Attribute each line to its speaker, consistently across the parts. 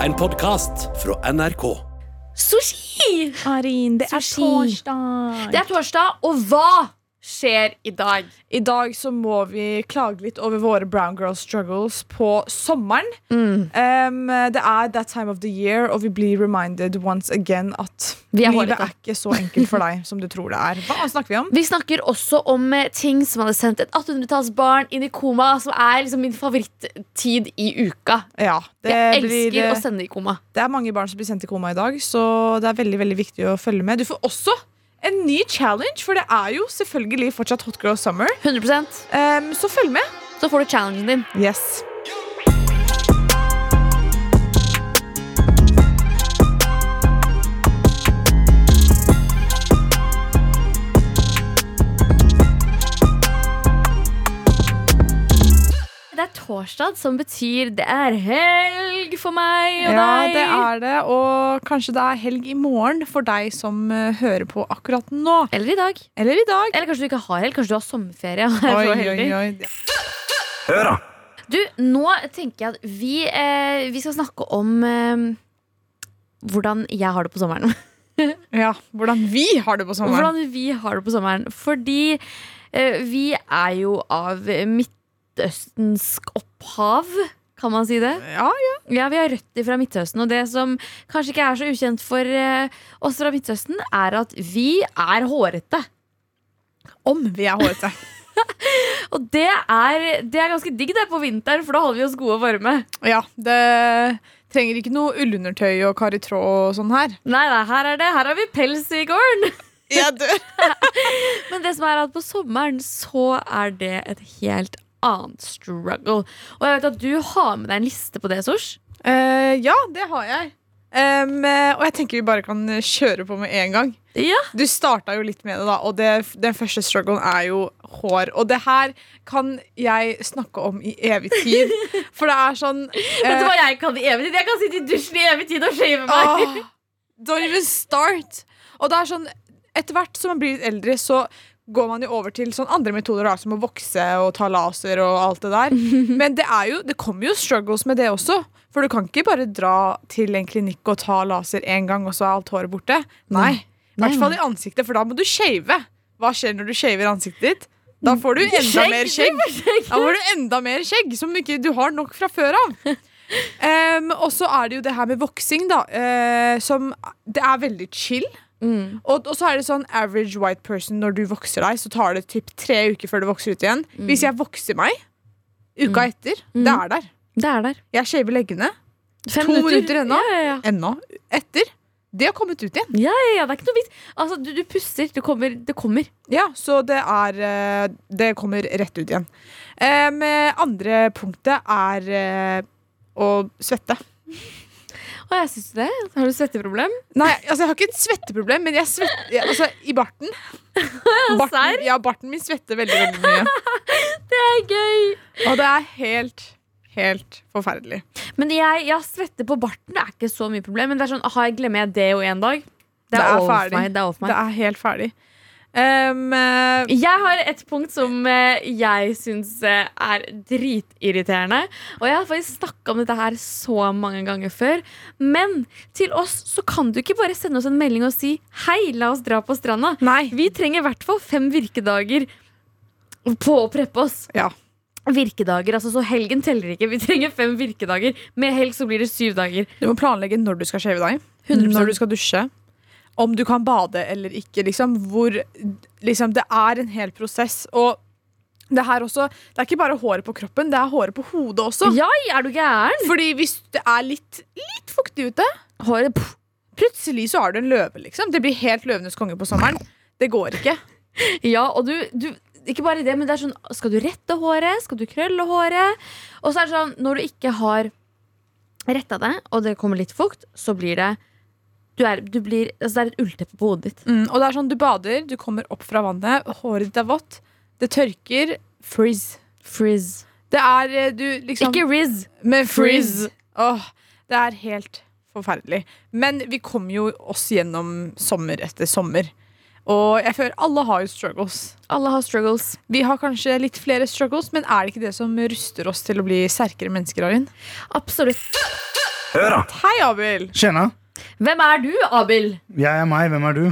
Speaker 1: En podkast fra NRK.
Speaker 2: Sushi!
Speaker 3: Arin, det er
Speaker 2: Sushi.
Speaker 3: torsdag.
Speaker 2: Det er torsdag, og hva skjer i dag?
Speaker 3: I dag så må vi klage litt over våre brown girl struggles på sommeren.
Speaker 2: Mm.
Speaker 3: Um, det er that time of the year, og vi blir reminded once again at
Speaker 2: Vi er
Speaker 3: livet
Speaker 2: hårete.
Speaker 3: er ikke så enkelt for deg som du tror det er. Hva snakker vi om?
Speaker 2: Vi snakker også om eh, ting som hadde sendt et 1800-tallsbarn inn i koma, som er liksom min favorittid i uka.
Speaker 3: Ja, det,
Speaker 2: Jeg
Speaker 3: blir, eh,
Speaker 2: elsker å sende i koma.
Speaker 3: det er mange barn som blir sendt i koma i dag, så det er veldig, veldig viktig å følge med. Du får også en ny challenge, for det er jo selvfølgelig fortsatt Hot Girl Summer.
Speaker 2: 100
Speaker 3: Um, så følg med.
Speaker 2: Så får du challengen din.
Speaker 3: Yes.
Speaker 2: Det er torsdag, som betyr det er helg for meg og
Speaker 3: Ja,
Speaker 2: deg.
Speaker 3: det er det. Og kanskje det er helg i morgen for deg som eh, hører på akkurat nå.
Speaker 2: Eller i dag.
Speaker 3: Eller i dag.
Speaker 2: Eller kanskje du ikke har helg. Kanskje du har sommerferie. og er
Speaker 3: Oi,
Speaker 2: så
Speaker 3: oi,
Speaker 2: heldig.
Speaker 3: oi.
Speaker 2: Du, nå tenker jeg at vi, eh, vi skal snakke om eh, hvordan jeg har det på sommeren.
Speaker 3: Ja, hvordan vi har det på sommeren.
Speaker 2: Hvordan vi har det på sommeren. Fordi eh, vi er jo av midtøstensk opphav, kan man si det?
Speaker 3: Ja, ja.
Speaker 2: Ja, vi har røtter fra Midtøsten, og det som kanskje ikke er så ukjent for eh, oss fra Midtøsten, er at vi er hårete.
Speaker 3: Om vi er hårete.
Speaker 2: Og det er, det er ganske digg det på vinteren, for da holder vi oss gode og varme.
Speaker 3: Ja, det trenger ikke noe ullundertøy og kar i tråd og sånn her.
Speaker 2: Nei, nei, her er det. Her har vi pels i gården.
Speaker 3: Jeg dør.
Speaker 2: Men det som er at på sommeren så er det et helt annet struggle. Og jeg vet at du har med deg en liste på det, Sosh.
Speaker 3: Eh, ja, det har jeg. Em, eh, og jeg tenker vi bare kan eh, kjøre på med en gang.
Speaker 2: Ja.
Speaker 3: Du starta jo litt med det, da, og det, den første strugglen er jo hår. Og det her kan jeg snakke om i evig tid. For det er sånn
Speaker 2: Vet du
Speaker 3: eh,
Speaker 2: hva jeg kan i evig tid? Jeg kan sitte i dusjen i evig tid og shave meg.
Speaker 3: åh, Don't even start! Og det er sånn Etter hvert som man blir litt eldre, så går man jo over til sånn andre metoder, da, som å vokse og ta laser og alt det der. Men det, er jo, det kommer jo struggles med det også. For du kan ikke bare dra til en klinikk og ta laser én gang, og så er alt håret borte. Nei. I hvert fall i ansiktet, for da må du shave. Hva skjer når du shaver ansiktet ditt? Da får du enda
Speaker 2: Skjegg,
Speaker 3: mer
Speaker 2: du
Speaker 3: skjegg.
Speaker 2: får skjegg.
Speaker 3: Da får du enda mer skjegg som ikke du har nok fra før av. Em, og så er det jo det her med voksing, da. eh, som Det er veldig chill.
Speaker 2: Mm.
Speaker 3: Og, og så er det sånn average white person når du vokser deg, så tar det typ tre uker før du vokser ut igjen. Hvis jeg vokser meg uka etter, det er der.
Speaker 2: Det er der.
Speaker 3: Jeg shaver leggene
Speaker 2: Fem
Speaker 3: To minutter ennå?
Speaker 2: Ja, ja, ja.
Speaker 3: ennå etter. Det har kommet ut igjen.
Speaker 2: Ja, ja, ja, det er ikke noe vits. Altså, du, du puster. Det kommer. Det kommer.
Speaker 3: Ja, Så det er eh, Det kommer rett ut igjen. Em, eh, andre punktet er eh, å svette.
Speaker 2: Å, jeg syns det. Har du svetteproblem?
Speaker 3: Nei, altså jeg har ikke et svetteproblem, men jeg svetter jeg, altså, i barten. barten. Ja, barten min svetter veldig, veldig mye.
Speaker 2: Det er gøy.
Speaker 3: Og det er helt, helt forferdelig.
Speaker 2: Men jeg, jeg svetter på barten. Det er ikke så mye problem. Men det er sånn, aha, jeg glemmer jeg det jo en dag? Det
Speaker 3: Det
Speaker 2: er,
Speaker 3: er
Speaker 2: over
Speaker 3: ferdig.
Speaker 2: for meg. Det er over for meg.
Speaker 3: Det er helt ferdig. Ehm, eh,
Speaker 2: Jeg har et punkt som eh, jeg syns eh, er dritirriterende. Og jeg har faktisk snakka om dette her så mange ganger før. Men til oss så kan du ikke bare sende oss en melding og si 'hei, la oss dra på stranda'.
Speaker 3: nei.
Speaker 2: Vi trenger i hvert fall fem virkedager på å preppe oss.
Speaker 3: Ja.
Speaker 2: Virkedager, altså Så helgen teller ikke. Vi trenger fem virkedager. Med helg så blir det syv dager.
Speaker 3: Du må planlegge når du skal shave deg,
Speaker 2: 100%.
Speaker 3: når du skal dusje, om du kan bade eller ikke. Liksom, hvor, liksom, det er en hel prosess. Og det her også, det er ikke bare håret på kroppen, det er håret på hodet også.
Speaker 2: Ja, er du gæren?
Speaker 3: Fordi hvis det er litt, litt fuktig ute,
Speaker 2: Håret pff.
Speaker 3: plutselig så har du en løve. liksom. Det blir helt løvenes konge på sommeren. Det går ikke.
Speaker 2: Ja, og du, du Ikke bare det, men det er sånn Skal du rette håret? Skal du krølle håret? Og så er det sånn, når du ikke har retta det, og det kommer litt fukt, så blir det du er, du blir, altså Det er et ullteppe på hodet ditt.
Speaker 3: Mm, og det er sånn, Du bader, du kommer opp fra vannet, håret ditt er vått, det tørker. Frizz.
Speaker 2: Frizz.
Speaker 3: Det er eh, du liksom
Speaker 2: Ikke rizz.
Speaker 3: Men
Speaker 2: frizz.
Speaker 3: Åh, det er helt forferdelig. Men vi kom jo oss gjennom sommer etter sommer. Og jeg føler alle har jo struggles.
Speaker 2: Alle har struggles.
Speaker 3: Vi har kanskje litt flere struggles, men er det ikke det som ruster oss til å bli sterkere mennesker? Arin?
Speaker 2: Absolutt.
Speaker 3: Hei, Abel.
Speaker 4: Tjena.
Speaker 2: Hvem er du, Abel?
Speaker 4: Jeg er meg, hvem er du?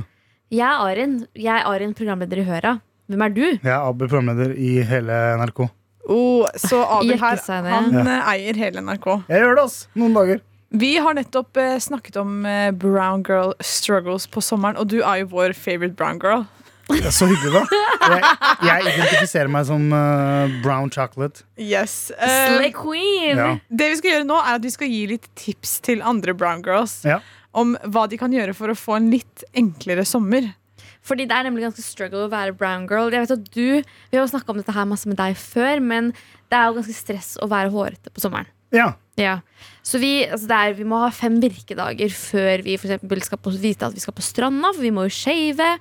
Speaker 2: Jeg er Arin. Jeg er Arin, programleder i Høra. Hvem er du?
Speaker 4: Jeg er Abel, programleder i hele NRK.
Speaker 3: Oh, så Abel her,
Speaker 2: Jekkeseier.
Speaker 3: han eh, eier hele NRK.
Speaker 4: Jeg gjør det, ass! Noen dager.
Speaker 3: Vi har nettopp eh, snakket om eh, brown girl struggles på sommeren, og du er jo vår favorite brown girl.
Speaker 4: Det er så hyggelig, da. Jeg, jeg identifiserer meg som eh, brown chocolate.
Speaker 3: Yes. Eh,
Speaker 2: Slay queen!
Speaker 4: Ja.
Speaker 3: det vi skal gjøre nå, er at vi skal gi litt tips til andre brown girls
Speaker 4: Ja.
Speaker 3: om hva de kan gjøre for å få en litt enklere sommer.
Speaker 2: Fordi det er nemlig ganske struggle å være brown girl. Jeg vet at du, Vi har jo snakka om dette her masse med deg før, men det er jo ganske stress å være hårete på sommeren.
Speaker 4: ja.
Speaker 2: Ja. Så vi, altså det er, vi må ha fem virkedager før vi for eksempel skal på, vite at vi skal på stranda, for vi må jo shave.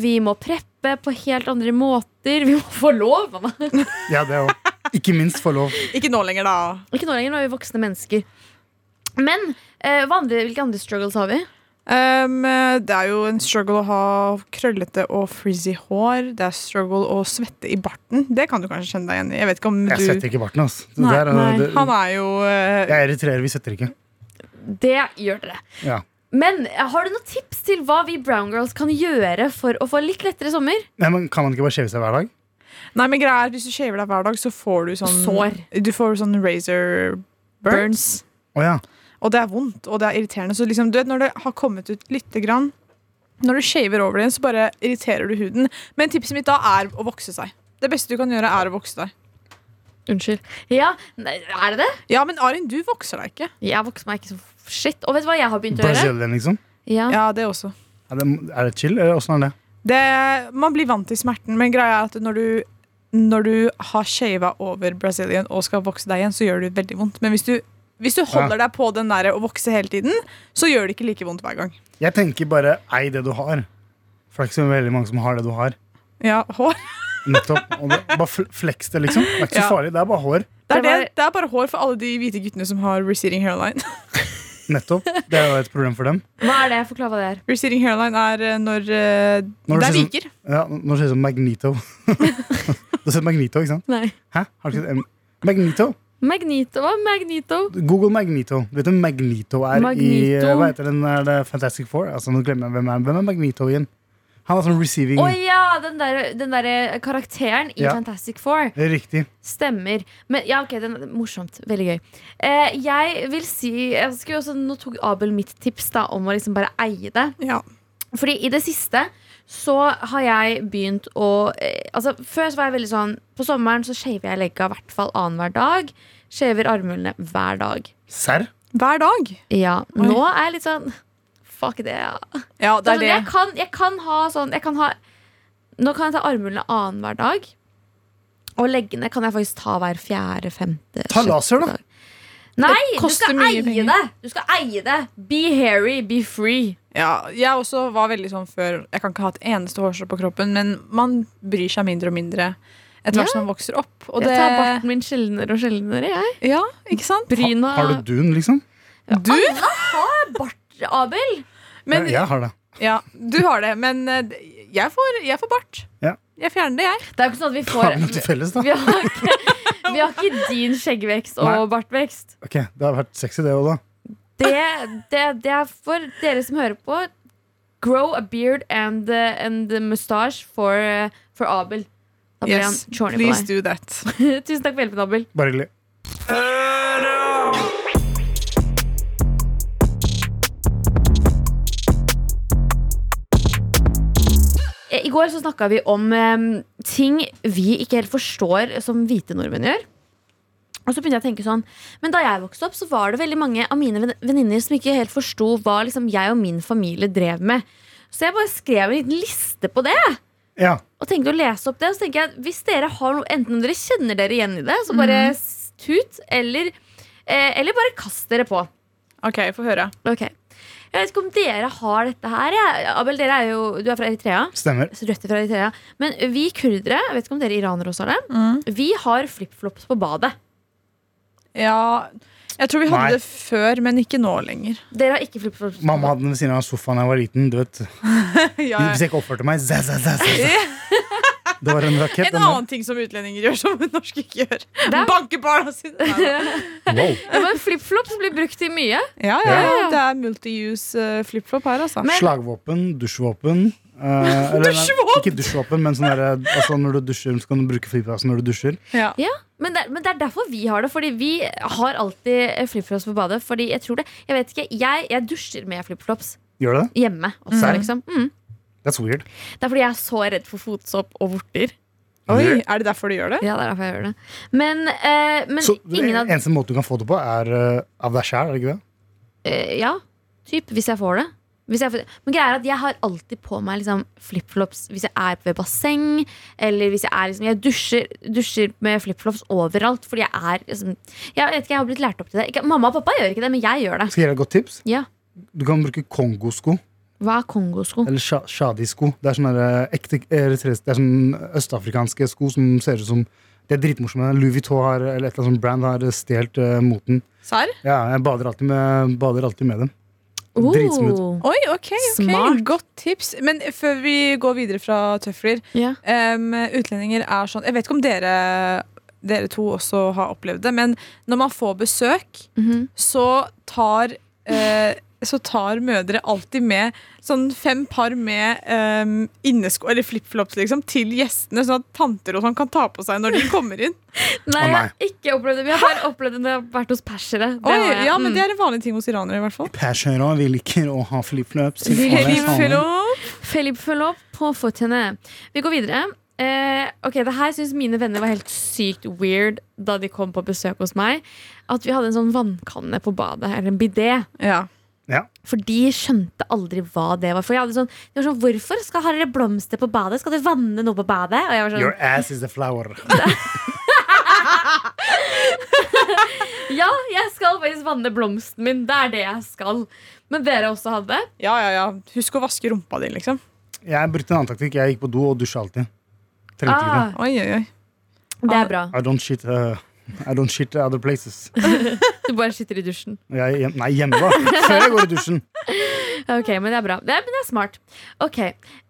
Speaker 2: Vi må preppe på helt andre måter. Vi må få lov! Mamma.
Speaker 4: Ja, det òg. Ikke minst få lov.
Speaker 3: Ikke nå lenger, da.
Speaker 2: Ikke nå lenger, nå er vi voksne mennesker. Men eh, hva andre, hvilke andre struggles har vi?
Speaker 3: Um, det er jo en struggle å ha krøllete og frizzy hår. Det er struggle å svette i barten. Det kan du kanskje kjenne deg igjen i. Jeg vet ikke om
Speaker 4: Jeg
Speaker 3: du
Speaker 4: svetter ikke i barten, ass. Det
Speaker 2: Nei,
Speaker 4: der, eh,
Speaker 2: nei,
Speaker 4: det,
Speaker 3: Han er jo eh,
Speaker 4: jeg er eritreer, vi svetter ikke.
Speaker 2: Det gjør dere.
Speaker 4: Ja.
Speaker 2: Men eh, har du noen tips til hva vi brown girls kan gjøre for å få litt lettere sommer?
Speaker 4: Nei, men Kan man ikke bare skjeve seg hver dag?
Speaker 3: Nei, men greia er Hvis du shaver deg hver dag, så får du sånn
Speaker 2: Sår.
Speaker 3: Du får sånn razor burns.
Speaker 4: Å ja.
Speaker 3: Og det er vondt, og det er irriterende. Så liksom, du vet, når det har kommet ut lite grann Når du shaver over den, så bare irriterer du huden. Men tipset mitt da er å vokse seg. Det beste du kan gjøre, er å vokse deg.
Speaker 2: Unnskyld. Ja, nei, er det det?
Speaker 3: Ja, men Arin, du vokser deg ikke.
Speaker 2: Jeg vokste meg ikke så f- shit. Og vet du hva jeg har begynt å gjøre?
Speaker 4: Brazilian, liksom.
Speaker 2: Ja.
Speaker 3: Ja, det også.
Speaker 4: Er det, er det chill, eller åssen er det?
Speaker 3: Det, man blir vant til smerten, men greia er at når du, når du har shava over Brazilian og skal vokse deg igjen, så gjør det veldig vondt. Men hvis du, hvis du holder deg på den der å vokse hele tiden, så gjør det ikke like vondt hver gang.
Speaker 4: Jeg tenker bare ei det du har. For det er ikke så veldig mange som har det du har.
Speaker 3: Ja, hår.
Speaker 4: Nettopp. Og det, bare fl- flex det, liksom. Det er ikke så
Speaker 3: Ja.
Speaker 4: farlig. Det er bare hår.
Speaker 3: Det er,
Speaker 2: Det
Speaker 3: det,
Speaker 2: var-
Speaker 3: det er bare hår for alle de hvite guttene som har receding hairline.
Speaker 4: Nettopp. Det er jo et problem for dem.
Speaker 2: Hva er det? Forklar hva det er.
Speaker 3: receding hairline er eh, når eh, det er
Speaker 4: Når du ser sånn-
Speaker 3: viker.
Speaker 4: Ja, Nå ser det ut som Magnito. du har sett Magnito, ikke sant?
Speaker 2: Nei.
Speaker 4: Hæ? Har du ikke sett M Magnito?
Speaker 2: Magnito. Hva er Magnito?
Speaker 4: Google Magnito. Du vet hvem Magnito er i
Speaker 2: Magneto.
Speaker 4: eh, Hva heter den der det er Fantastic Four? Altså, nå glemmer jeg hvem er, hvem er Magnito igjen. Han er sånn receiving.
Speaker 2: Å ja! Den derre den derre karakteren i
Speaker 4: Ja.
Speaker 2: Fantastic Four.
Speaker 4: Det er Riktig.
Speaker 2: Stemmer. Men ja, ok, den er morsomt. Veldig gøy. Eh, jeg vil si jeg skulle også, Nå tok Abel mitt tips da om å liksom bare eie det.
Speaker 3: Ja.
Speaker 2: Fordi i det siste så har jeg begynt å eh, Altså Før så var jeg veldig sånn På sommeren så shaver jeg legga i hvert fall annenhver dag. Shaver armhulene hver dag.
Speaker 4: Serr?
Speaker 3: Hver dag.
Speaker 2: Ja, nå er jeg litt sånn Fuck det. Ja.
Speaker 3: Sånn, Ja, det
Speaker 2: Altså,
Speaker 3: er det.
Speaker 2: Jeg, kan, jeg kan ha sånn jeg kan ha, Nå kan jeg ta armhulene annenhver dag. Og leggene kan jeg faktisk ta hver fjerde, femte
Speaker 4: Ta
Speaker 2: sjette
Speaker 4: laser, da.
Speaker 2: dag. Nei, du
Speaker 3: koster
Speaker 2: skal
Speaker 3: mye
Speaker 2: eie
Speaker 3: penger.
Speaker 2: det! Du skal eie det Be hairy, be free.
Speaker 3: Ja, jeg også var veldig sånn før Jeg kan ikke ha et eneste hårstrå på kroppen, men man bryr seg mindre og mindre etter
Speaker 2: Ja.
Speaker 3: hvert som man vokser opp. Og
Speaker 2: Jeg tar barten
Speaker 3: det,
Speaker 2: min sjeldnere og sjeldnere. Jeg.
Speaker 3: ja, ikke sant?
Speaker 2: Bryna
Speaker 4: Har du dun, liksom?
Speaker 3: Du,
Speaker 2: bart, Abel?
Speaker 3: men, ja.
Speaker 4: Ja, jeg har det.
Speaker 3: du har det, men eh, jeg får, jeg får bart.
Speaker 4: Ja.
Speaker 3: Jeg fjerner det, jeg.
Speaker 2: Det er jo ikke sånn at vi
Speaker 4: Har vi noe til
Speaker 2: får
Speaker 4: felles, da?
Speaker 2: Vi har ikke, vi har ikke din skjeggvekst og bartvekst.
Speaker 4: Ok, Det har vært sexy, det òg, da.
Speaker 2: det, det, det er for dere som hører på Grow a beard and, uh, and a mustache for, uh, for Abel Da blir
Speaker 3: Yes,
Speaker 2: han chorny
Speaker 3: please
Speaker 2: på
Speaker 3: do that.
Speaker 2: deg Tusen takk for hjelpen, Abel
Speaker 4: Bare hyggelig.
Speaker 2: Eh, I går så snakket vi om eh, ting vi ikke helt forstår Som hvite nordmenn gjør Og så begynte jeg å tenke sånn Men da jeg vokste opp så var det veldig mange av mine ven- venninner Som ikke helt forstod hva liksom, jeg og min familie drev med Så jeg bare skrev en liten liste på det
Speaker 4: Ja.
Speaker 2: og tenkte å lese opp det. Og så tenker jeg, hvis dere har noe, enten om dere kjenner dere igjen i det, så bare s- tut, eller, eh, eller bare kast dere på.
Speaker 3: OK, få høre.
Speaker 2: Ok. Jeg vet ikke om dere har dette her. Jeg. Abel, dere er jo, du er fra Eritrea.
Speaker 4: Stemmer.
Speaker 2: Så røtter fra Eritrea. Men vi kurdere, jeg vet ikke om dere iranere også har det, vi har flipflops på badet.
Speaker 3: Ja, jeg tror vi hadde
Speaker 4: Nei.
Speaker 3: det før, men ikke nå lenger.
Speaker 2: Dere har ikke flipflops. på
Speaker 4: Mamma
Speaker 2: badet.
Speaker 4: hadde den ved siden av sofaen da jeg var liten. Du vet.
Speaker 3: Ja,
Speaker 4: Hvis jeg ikke oppførte meg, zæ, zæ, zæ, zæ, zæ. Det var en rakett.
Speaker 3: En
Speaker 4: den der.
Speaker 3: annen ting som utlendinger gjør, som norske ikke gjør.
Speaker 2: er-
Speaker 3: Banke barna sine. Nei, nei.
Speaker 1: Wow.
Speaker 2: Ja, Men flipflops blir brukt til mye.
Speaker 3: Ja, ja,
Speaker 4: Ja.
Speaker 3: ja. Det er multi-use eh, flip-flop her, altså.
Speaker 2: Men-
Speaker 4: Slagvåpen, dusjvåpen. eh, eller, nei,
Speaker 3: Dusjvåpen!
Speaker 4: Ikke dusjvåpen, men sånn der, altså, når du dusjer, så kan du bruke flyplassen når du dusjer.
Speaker 3: ja.
Speaker 2: Men det, er- men det er derfor vi har det. Fordi vi har alltid eh, flipflops på badet. Fordi jeg tror det Jeg vet ikke, jeg, jeg dusjer med flipflops
Speaker 4: Gjør du det?
Speaker 2: hjemme. Også,
Speaker 4: Serr?
Speaker 2: liksom. mm.
Speaker 4: That's weird.
Speaker 2: Det er fordi jeg er så redd for fotsopp og vorter.
Speaker 3: Oi, er det derfor du gjør det?
Speaker 2: Ja, det er derfor jeg gjør det. Men, eh, men
Speaker 4: Så
Speaker 2: ingen av
Speaker 4: Eneste måte du kan få det på, er eh, av deg sjæl, er det ikke det?
Speaker 2: eh, Ja, typ, hvis jeg får det. Hvis jeg får, men greia er at jeg har alltid på meg liksom, flipflops hvis jeg er ved basseng. Eller hvis jeg er liksom Jeg dusjer, dusjer med flipflops overalt. Fordi jeg er liksom Jeg vet ikke, jeg har blitt lært opp til det. Ikke, mamma og pappa gjør ikke det, men jeg gjør det.
Speaker 4: Skal jeg gi deg et godt tips?
Speaker 2: Ja.
Speaker 4: Du kan bruke kongosko,
Speaker 2: Hva er kongosko?
Speaker 4: eller sha- shadi-sko. Det er sånne der, eh, ekte eritreiske Det er sånne østafrikanske sko som ser ut som De er dritmorsomme. Louis Vuitton har, eller et eller annet sånt brand har stjålet eh, moten.
Speaker 3: Serr?
Speaker 4: Ja, jeg bader alltid med, bader alltid med dem. Dritsmooth.
Speaker 2: Oh.
Speaker 3: Oi, ok, ok.
Speaker 2: Smart.
Speaker 3: Godt tips. Men før vi går videre fra tøfler
Speaker 2: Ja.
Speaker 3: em, Utlendinger er sånn Jeg vet ikke om dere, dere to også har opplevd det, men når man får besøk,
Speaker 2: Mhm.
Speaker 3: så tar eh, så tar mødre alltid med sånn fem par med em, innesko eller flipflops liksom, til gjestene, sånn at tanter og sånn kan ta på seg når de kommer inn.
Speaker 2: Nei,
Speaker 4: Å,
Speaker 2: jeg
Speaker 4: nei.
Speaker 2: har ikke opplevd det. Men jeg har opplevd det når jeg har vært hos persere. Det har
Speaker 3: Oi,
Speaker 2: jeg.
Speaker 3: ja, men
Speaker 2: Mm.
Speaker 3: Det er en vanlig ting hos iranere. i hvert fall
Speaker 4: Persjøra, vi liker å ha flipflops. til alle sammen.
Speaker 3: Flip-flop.
Speaker 2: Philip, følg opp på føttene. Vi går videre. Eh, ok, Det her syns mine venner var helt sykt weird da de kom på besøk hos meg. At vi hadde en sånn vannkanne på badet, eller en bidé.
Speaker 3: Ja.
Speaker 2: For de skjønte aldri hva det var. For jeg hadde sånn, de var sånn Hvorfor skal har dere blomster på badet? Skal du vanne noe på badet? Og jeg var
Speaker 4: Your
Speaker 2: sånn,
Speaker 4: ass is a flower.
Speaker 2: Ja, jeg skal faktisk vanne blomsten min. Det er det jeg skal. Men dere også hadde?
Speaker 3: ja, ja, ja. Husk å vaske rumpa di, liksom.
Speaker 4: Jeg brukte en annen taktikk. Jeg gikk på do og dusja alltid. Trengte ikke
Speaker 2: Ah,
Speaker 4: det.
Speaker 3: Oi, oi, oi.
Speaker 2: det er bra.
Speaker 4: I don't shit, uh, I don't shit other places.
Speaker 2: Du bare sitter i dusjen.
Speaker 4: Jeg, hjem- nei, hjemme, da. Før jeg går i dusjen.
Speaker 2: Ok, men det er bra. Det er, men det er smart. Ok,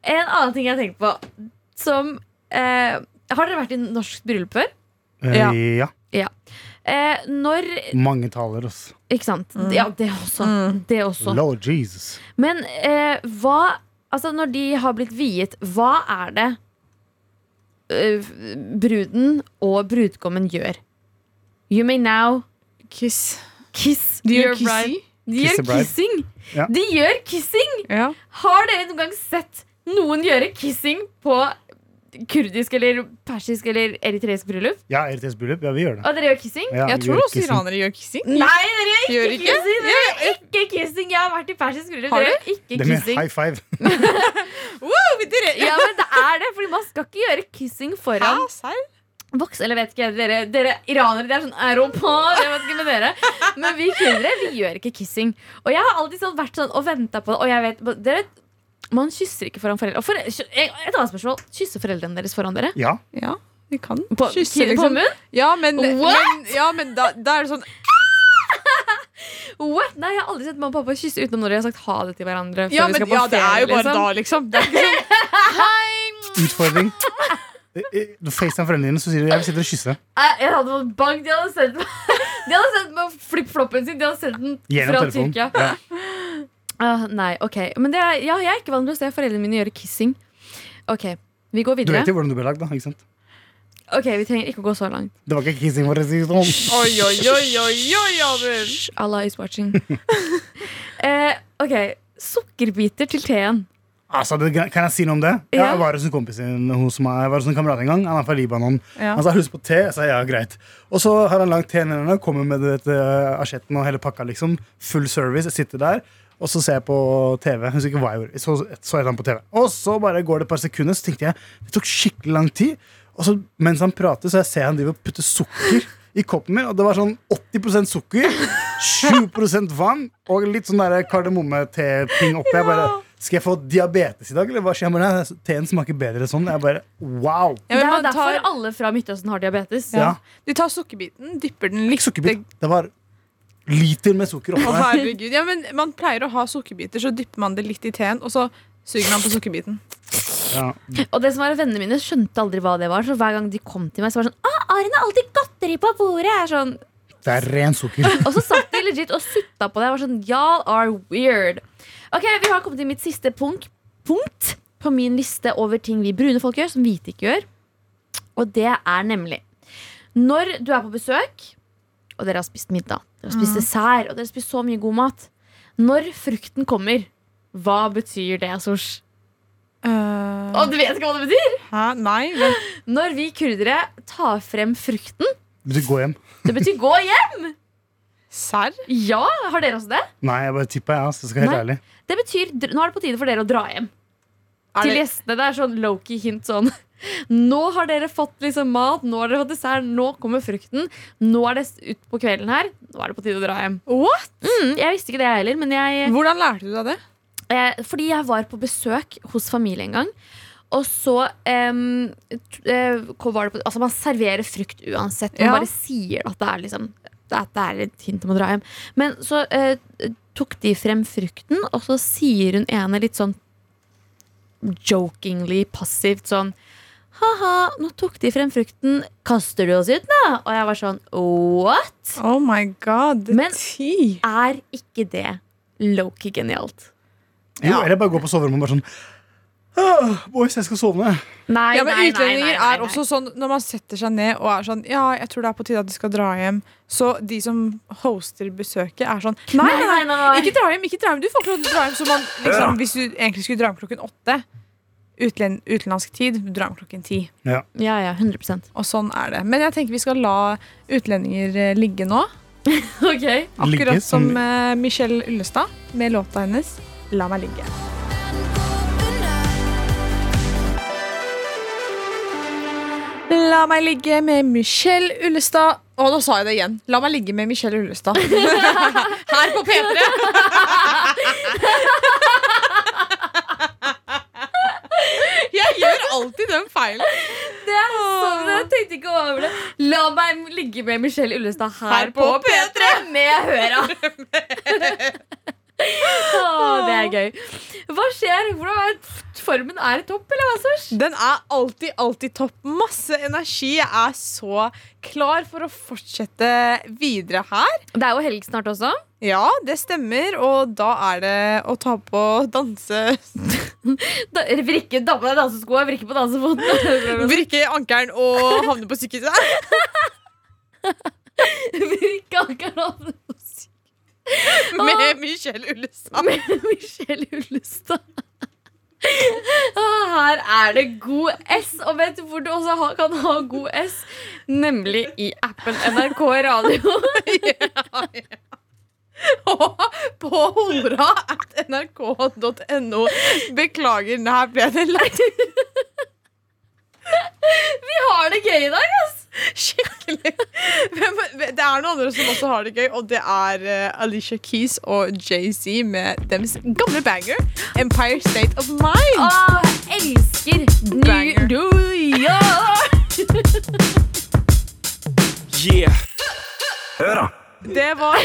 Speaker 2: En annen ting jeg tenker på som eh, Har dere vært i norsk bryllup før?
Speaker 4: Eh,
Speaker 3: Ja.
Speaker 4: ja.
Speaker 2: Eh, når
Speaker 4: Mange taler, ass.
Speaker 2: Ikke sant?
Speaker 3: Mm.
Speaker 2: Ja, det også. Det også.
Speaker 4: Lord Jesus.
Speaker 2: Men eh, hva Altså, når de har blitt viet, hva er det eh, bruden og brudgommen gjør? You may now
Speaker 3: Kiss.
Speaker 2: kiss
Speaker 3: De gjør
Speaker 2: your bride.
Speaker 3: kissy.
Speaker 2: De
Speaker 4: Kiss the
Speaker 2: gjør
Speaker 4: bride.
Speaker 2: kissing!
Speaker 4: Ja.
Speaker 2: De gjør kissing!
Speaker 3: Ja.
Speaker 2: Har dere noen gang sett noen gjøre kissing på kurdisk eller persisk eller eritreisk bryllup?
Speaker 4: Ja, RTS bryllup. Ja, vi gjør det.
Speaker 2: Og dere gjør kissing?
Speaker 4: Ja,
Speaker 3: Jeg
Speaker 4: vi
Speaker 3: tror
Speaker 4: gjør
Speaker 3: også
Speaker 4: kissen.
Speaker 3: iranere gjør kissing.
Speaker 2: Nei, dere gjør ikke,
Speaker 3: Gjør ikke?
Speaker 2: kissing! Dere gjør ikke kissing Jeg har vært i persisk bryllup.
Speaker 3: Har
Speaker 2: Dere gjør ikke
Speaker 4: De gjør
Speaker 2: kissing.
Speaker 4: high five.
Speaker 3: Wow, vi dere-
Speaker 2: Ja, men det er det, fordi man skal ikke gjøre kissing foran
Speaker 3: Hæ, serr?
Speaker 2: voksne. Eller vet ikke, dere, dere iranere dere er sånn europa, jeg vet ikke med dere. Men vi kurdere, vi gjør ikke kissing. Og jeg har alltid sånn, vært sånn og venta på det. Og jeg vet, dere, man kysser ikke foran foreldre. Og for, et annet spørsmål. Kysser foreldrene deres foran dere?
Speaker 4: Ja.
Speaker 3: Ja, vi kan
Speaker 2: På,
Speaker 3: kysse,
Speaker 2: på
Speaker 3: liksom.
Speaker 2: munnen?
Speaker 3: Ja, men,
Speaker 2: What?
Speaker 3: men, ja, men da, da er det sånn
Speaker 2: What? Nei, Jeg har aldri sett mamma og pappa kysse utenom når de har sagt ha det til hverandre. før
Speaker 3: Ja,
Speaker 2: vi
Speaker 3: men,
Speaker 2: skal på
Speaker 3: ja det er jo
Speaker 2: ferie,
Speaker 3: bare
Speaker 2: liksom.
Speaker 3: da, liksom. Det er ikke sånn
Speaker 4: Utfordring. Eh, eh, Du FaceTime foreldrene dine, så sier du jeg vil sitte og kysse.
Speaker 2: Jeg, jeg hadde fått bank. De hadde sendt meg, de hadde sendt meg flip-floppen sin. De hadde sendt den fra
Speaker 4: Gjennom telefonen.
Speaker 2: Tyrkia.
Speaker 4: Ja.
Speaker 2: Ah, nei, ok. Men det er, ja, jeg er ikke vant til å se foreldrene mine gjøre kissing. Ok, vi går
Speaker 4: Du
Speaker 2: videre.
Speaker 4: vet jo hvordan du ble lagd, da. ikke sant?
Speaker 2: Ok, Vi trenger ikke å gå så langt.
Speaker 4: Det var ikke kissing for å si det sånn.
Speaker 3: Oi, oi, oi, oi, oi, Abel.
Speaker 2: Hysj, Allah is watching. eh, ok, Sukkerbiter til teen.
Speaker 4: Altså, det, kan jeg si noe om det?
Speaker 2: Ja.
Speaker 4: Jeg var hos en kompis sin hos meg, jeg var hos en kamerat en gang. Han er fra Libanon. Han sa har du lyst på te. Jeg sa ja, greit. Og så har han lagd teen i hendene, kommer med dette asjetten og hele pakka, liksom. Full service. Jeg sitter der, og så ser jeg på TV. Jeg husker ikke hva jeg gjorde. Så, så jeg han på TV. Og så bare går det et par sekunder, så tenkte jeg det tok skikkelig lang tid. Og så mens han prater, så jeg ser han driver og putter sukker i koppen min, og det var sånn 80 sukker, 20 vann og litt sånn der kardemomme-te-ting oppi. Jeg bare Skal jeg få diabetes i dag, eller hva skjer? Han bare, «Nei, Teen smaker bedre sånn. Jeg bare wow.
Speaker 2: det
Speaker 3: Ja, men
Speaker 2: er jo
Speaker 3: man
Speaker 2: derfor
Speaker 3: tar,
Speaker 2: alle fra Midtøsten har diabetes.
Speaker 4: Ja.
Speaker 3: du tar sukkerbiten, dypper den litt
Speaker 4: Sukkerbit. Det var liter med sukker
Speaker 3: Å,
Speaker 4: oppå der.
Speaker 3: herregud. Ja, men man pleier å ha sukkerbiter, så dypper man det litt i teen, og så suger man på sukkerbiten.
Speaker 4: Ja.
Speaker 2: Og det som var at vennene mine skjønte aldri hva det var, så hver gang de kom til meg, så var det sånn ah, 'Arin har alltid godteri på bordet!' Jeg er sånn,
Speaker 4: Det er ren sukker.
Speaker 2: og så satt de legit og sutta på det. Jeg var sånn, Y'all are weird. Ok, Vi har kommet til mitt siste punkt, punkt på min liste over ting vi brune folk gjør, som hvite ikke gjør. Og det er nemlig når du er på besøk, og dere har spist middag, dere har spist dessert, og dere har spist så mye god mat. Når frukten kommer, hva betyr det, Sosh?
Speaker 3: Eh,
Speaker 2: Og du vet ikke hva det betyr!
Speaker 3: hæ? Nei, vent.
Speaker 2: Når vi kurdere tar frem frukten,
Speaker 4: Du går hjem.
Speaker 2: det betyr gå hjem!
Speaker 3: Serr?
Speaker 2: Ja, har dere også det?
Speaker 4: Nei, jeg bare tippa, jeg. ass. Jeg skal være
Speaker 2: Nei.
Speaker 4: helt ærlig.
Speaker 2: Det betyr, Nå er det på tide for dere å dra hjem.
Speaker 3: Er
Speaker 2: Til
Speaker 3: det-
Speaker 2: gjestene. Det er sånn low-key hint sånn. Nå har dere fått liksom mat, nå har dere fått dessert, nå kommer frukten. Nå er det s- ut på kvelden her. Nå er det på tide å dra hjem.
Speaker 3: What?
Speaker 2: Mm, jeg visste ikke det, jeg heller. Men jeg,
Speaker 3: Hvordan lærte du deg det?
Speaker 2: eh, fordi jeg var på besøk hos familie en gang. Og så em, t- eh, hva var det på, altså Man serverer frukt uansett. Man
Speaker 3: Ja.
Speaker 2: bare sier at det er liksom at det er et hint om å dra hjem. Men så eh, tok de frem frukten, og så sier hun ene litt sånn jokingly passivt sånn Ha-ha, nå tok de frem frukten. Kaster du oss ut, da? Og jeg var sånn What?
Speaker 3: Oh my god,
Speaker 2: Men-
Speaker 3: ti.
Speaker 2: Er ikke det Loki genialt?
Speaker 4: Jo, eller bare gå på soverommet og bare sånn «Ah, Boys, jeg skal sovne.
Speaker 2: Nei,
Speaker 3: Ja, men
Speaker 2: nei, nei, nei,
Speaker 3: utlendinger
Speaker 2: nei,
Speaker 3: er
Speaker 2: nei.
Speaker 3: også sånn Når man setter seg ned og er sånn Ja, jeg tror det er på tide at du skal dra hjem Så de som hoster besøket er sånn Nei,
Speaker 2: Nei, nei,
Speaker 3: nei,
Speaker 2: nei, nei.
Speaker 3: ikke dra hjem, ikke dra hjem Du får ikke lov til å dra hjem Så man, liksom, hvis du egentlig skulle dra hjem klokken åtte utlen, Utenlandsk tid, du drar hjem klokken ti
Speaker 2: Ja, ja, 100
Speaker 3: Og sånn er det Men jeg tenker vi skal la utlendinger eh, ligge nå
Speaker 2: Ok
Speaker 4: Ligge
Speaker 3: Akkurat som
Speaker 4: som-
Speaker 3: eh, Michelle Ullestad Med låta hennes La meg ligge La meg ligge med Michelle Ullestad. Å, nå sa jeg det igjen. La meg ligge med Michelle Ullestad. Her på P3. Jeg gjør alltid den feilen.
Speaker 2: Det er sånn, jeg tenkte ikke over det La meg ligge med Michelle Ullestad her,
Speaker 3: Her
Speaker 2: på
Speaker 3: på
Speaker 2: P3 Med høra Åh, det er gøy Hva skjer? Hvordan er formen? Er det topp, eller hva Sors?
Speaker 3: Den er alltid, alltid topp. Masse energi. Jeg er så klar for å fortsette videre her.
Speaker 2: Det er jo helg snart også
Speaker 3: Ja, det stemmer. Og da er det å ta på danse...
Speaker 2: da, Vrikke, damme deg danseskoa, vrikke på dansefoten
Speaker 3: Vrikke ankelen og havne på sykehuset.
Speaker 2: Vrikke akkurat
Speaker 3: Med Michelle Ullestad.
Speaker 2: med Michelle Ullestad. Ah, Her er det god S, og vet du hvor du også ha- kan ha god S? Nemlig i appen NRK Radio.
Speaker 3: Og på humra at nrk.no. Beklager, det her ble det leit
Speaker 2: Vi har det gøy i dag, ass!
Speaker 3: skikkelig. Men, men det er noen andre som også har det gøy, og det er eh, Alicia Keys og Jay-Z med deres gamle banger Empire State of Mind.
Speaker 2: Åh, jeg Ah, elsker New
Speaker 3: Banger.
Speaker 2: York!
Speaker 1: Yeah. Hør, da.
Speaker 3: Det var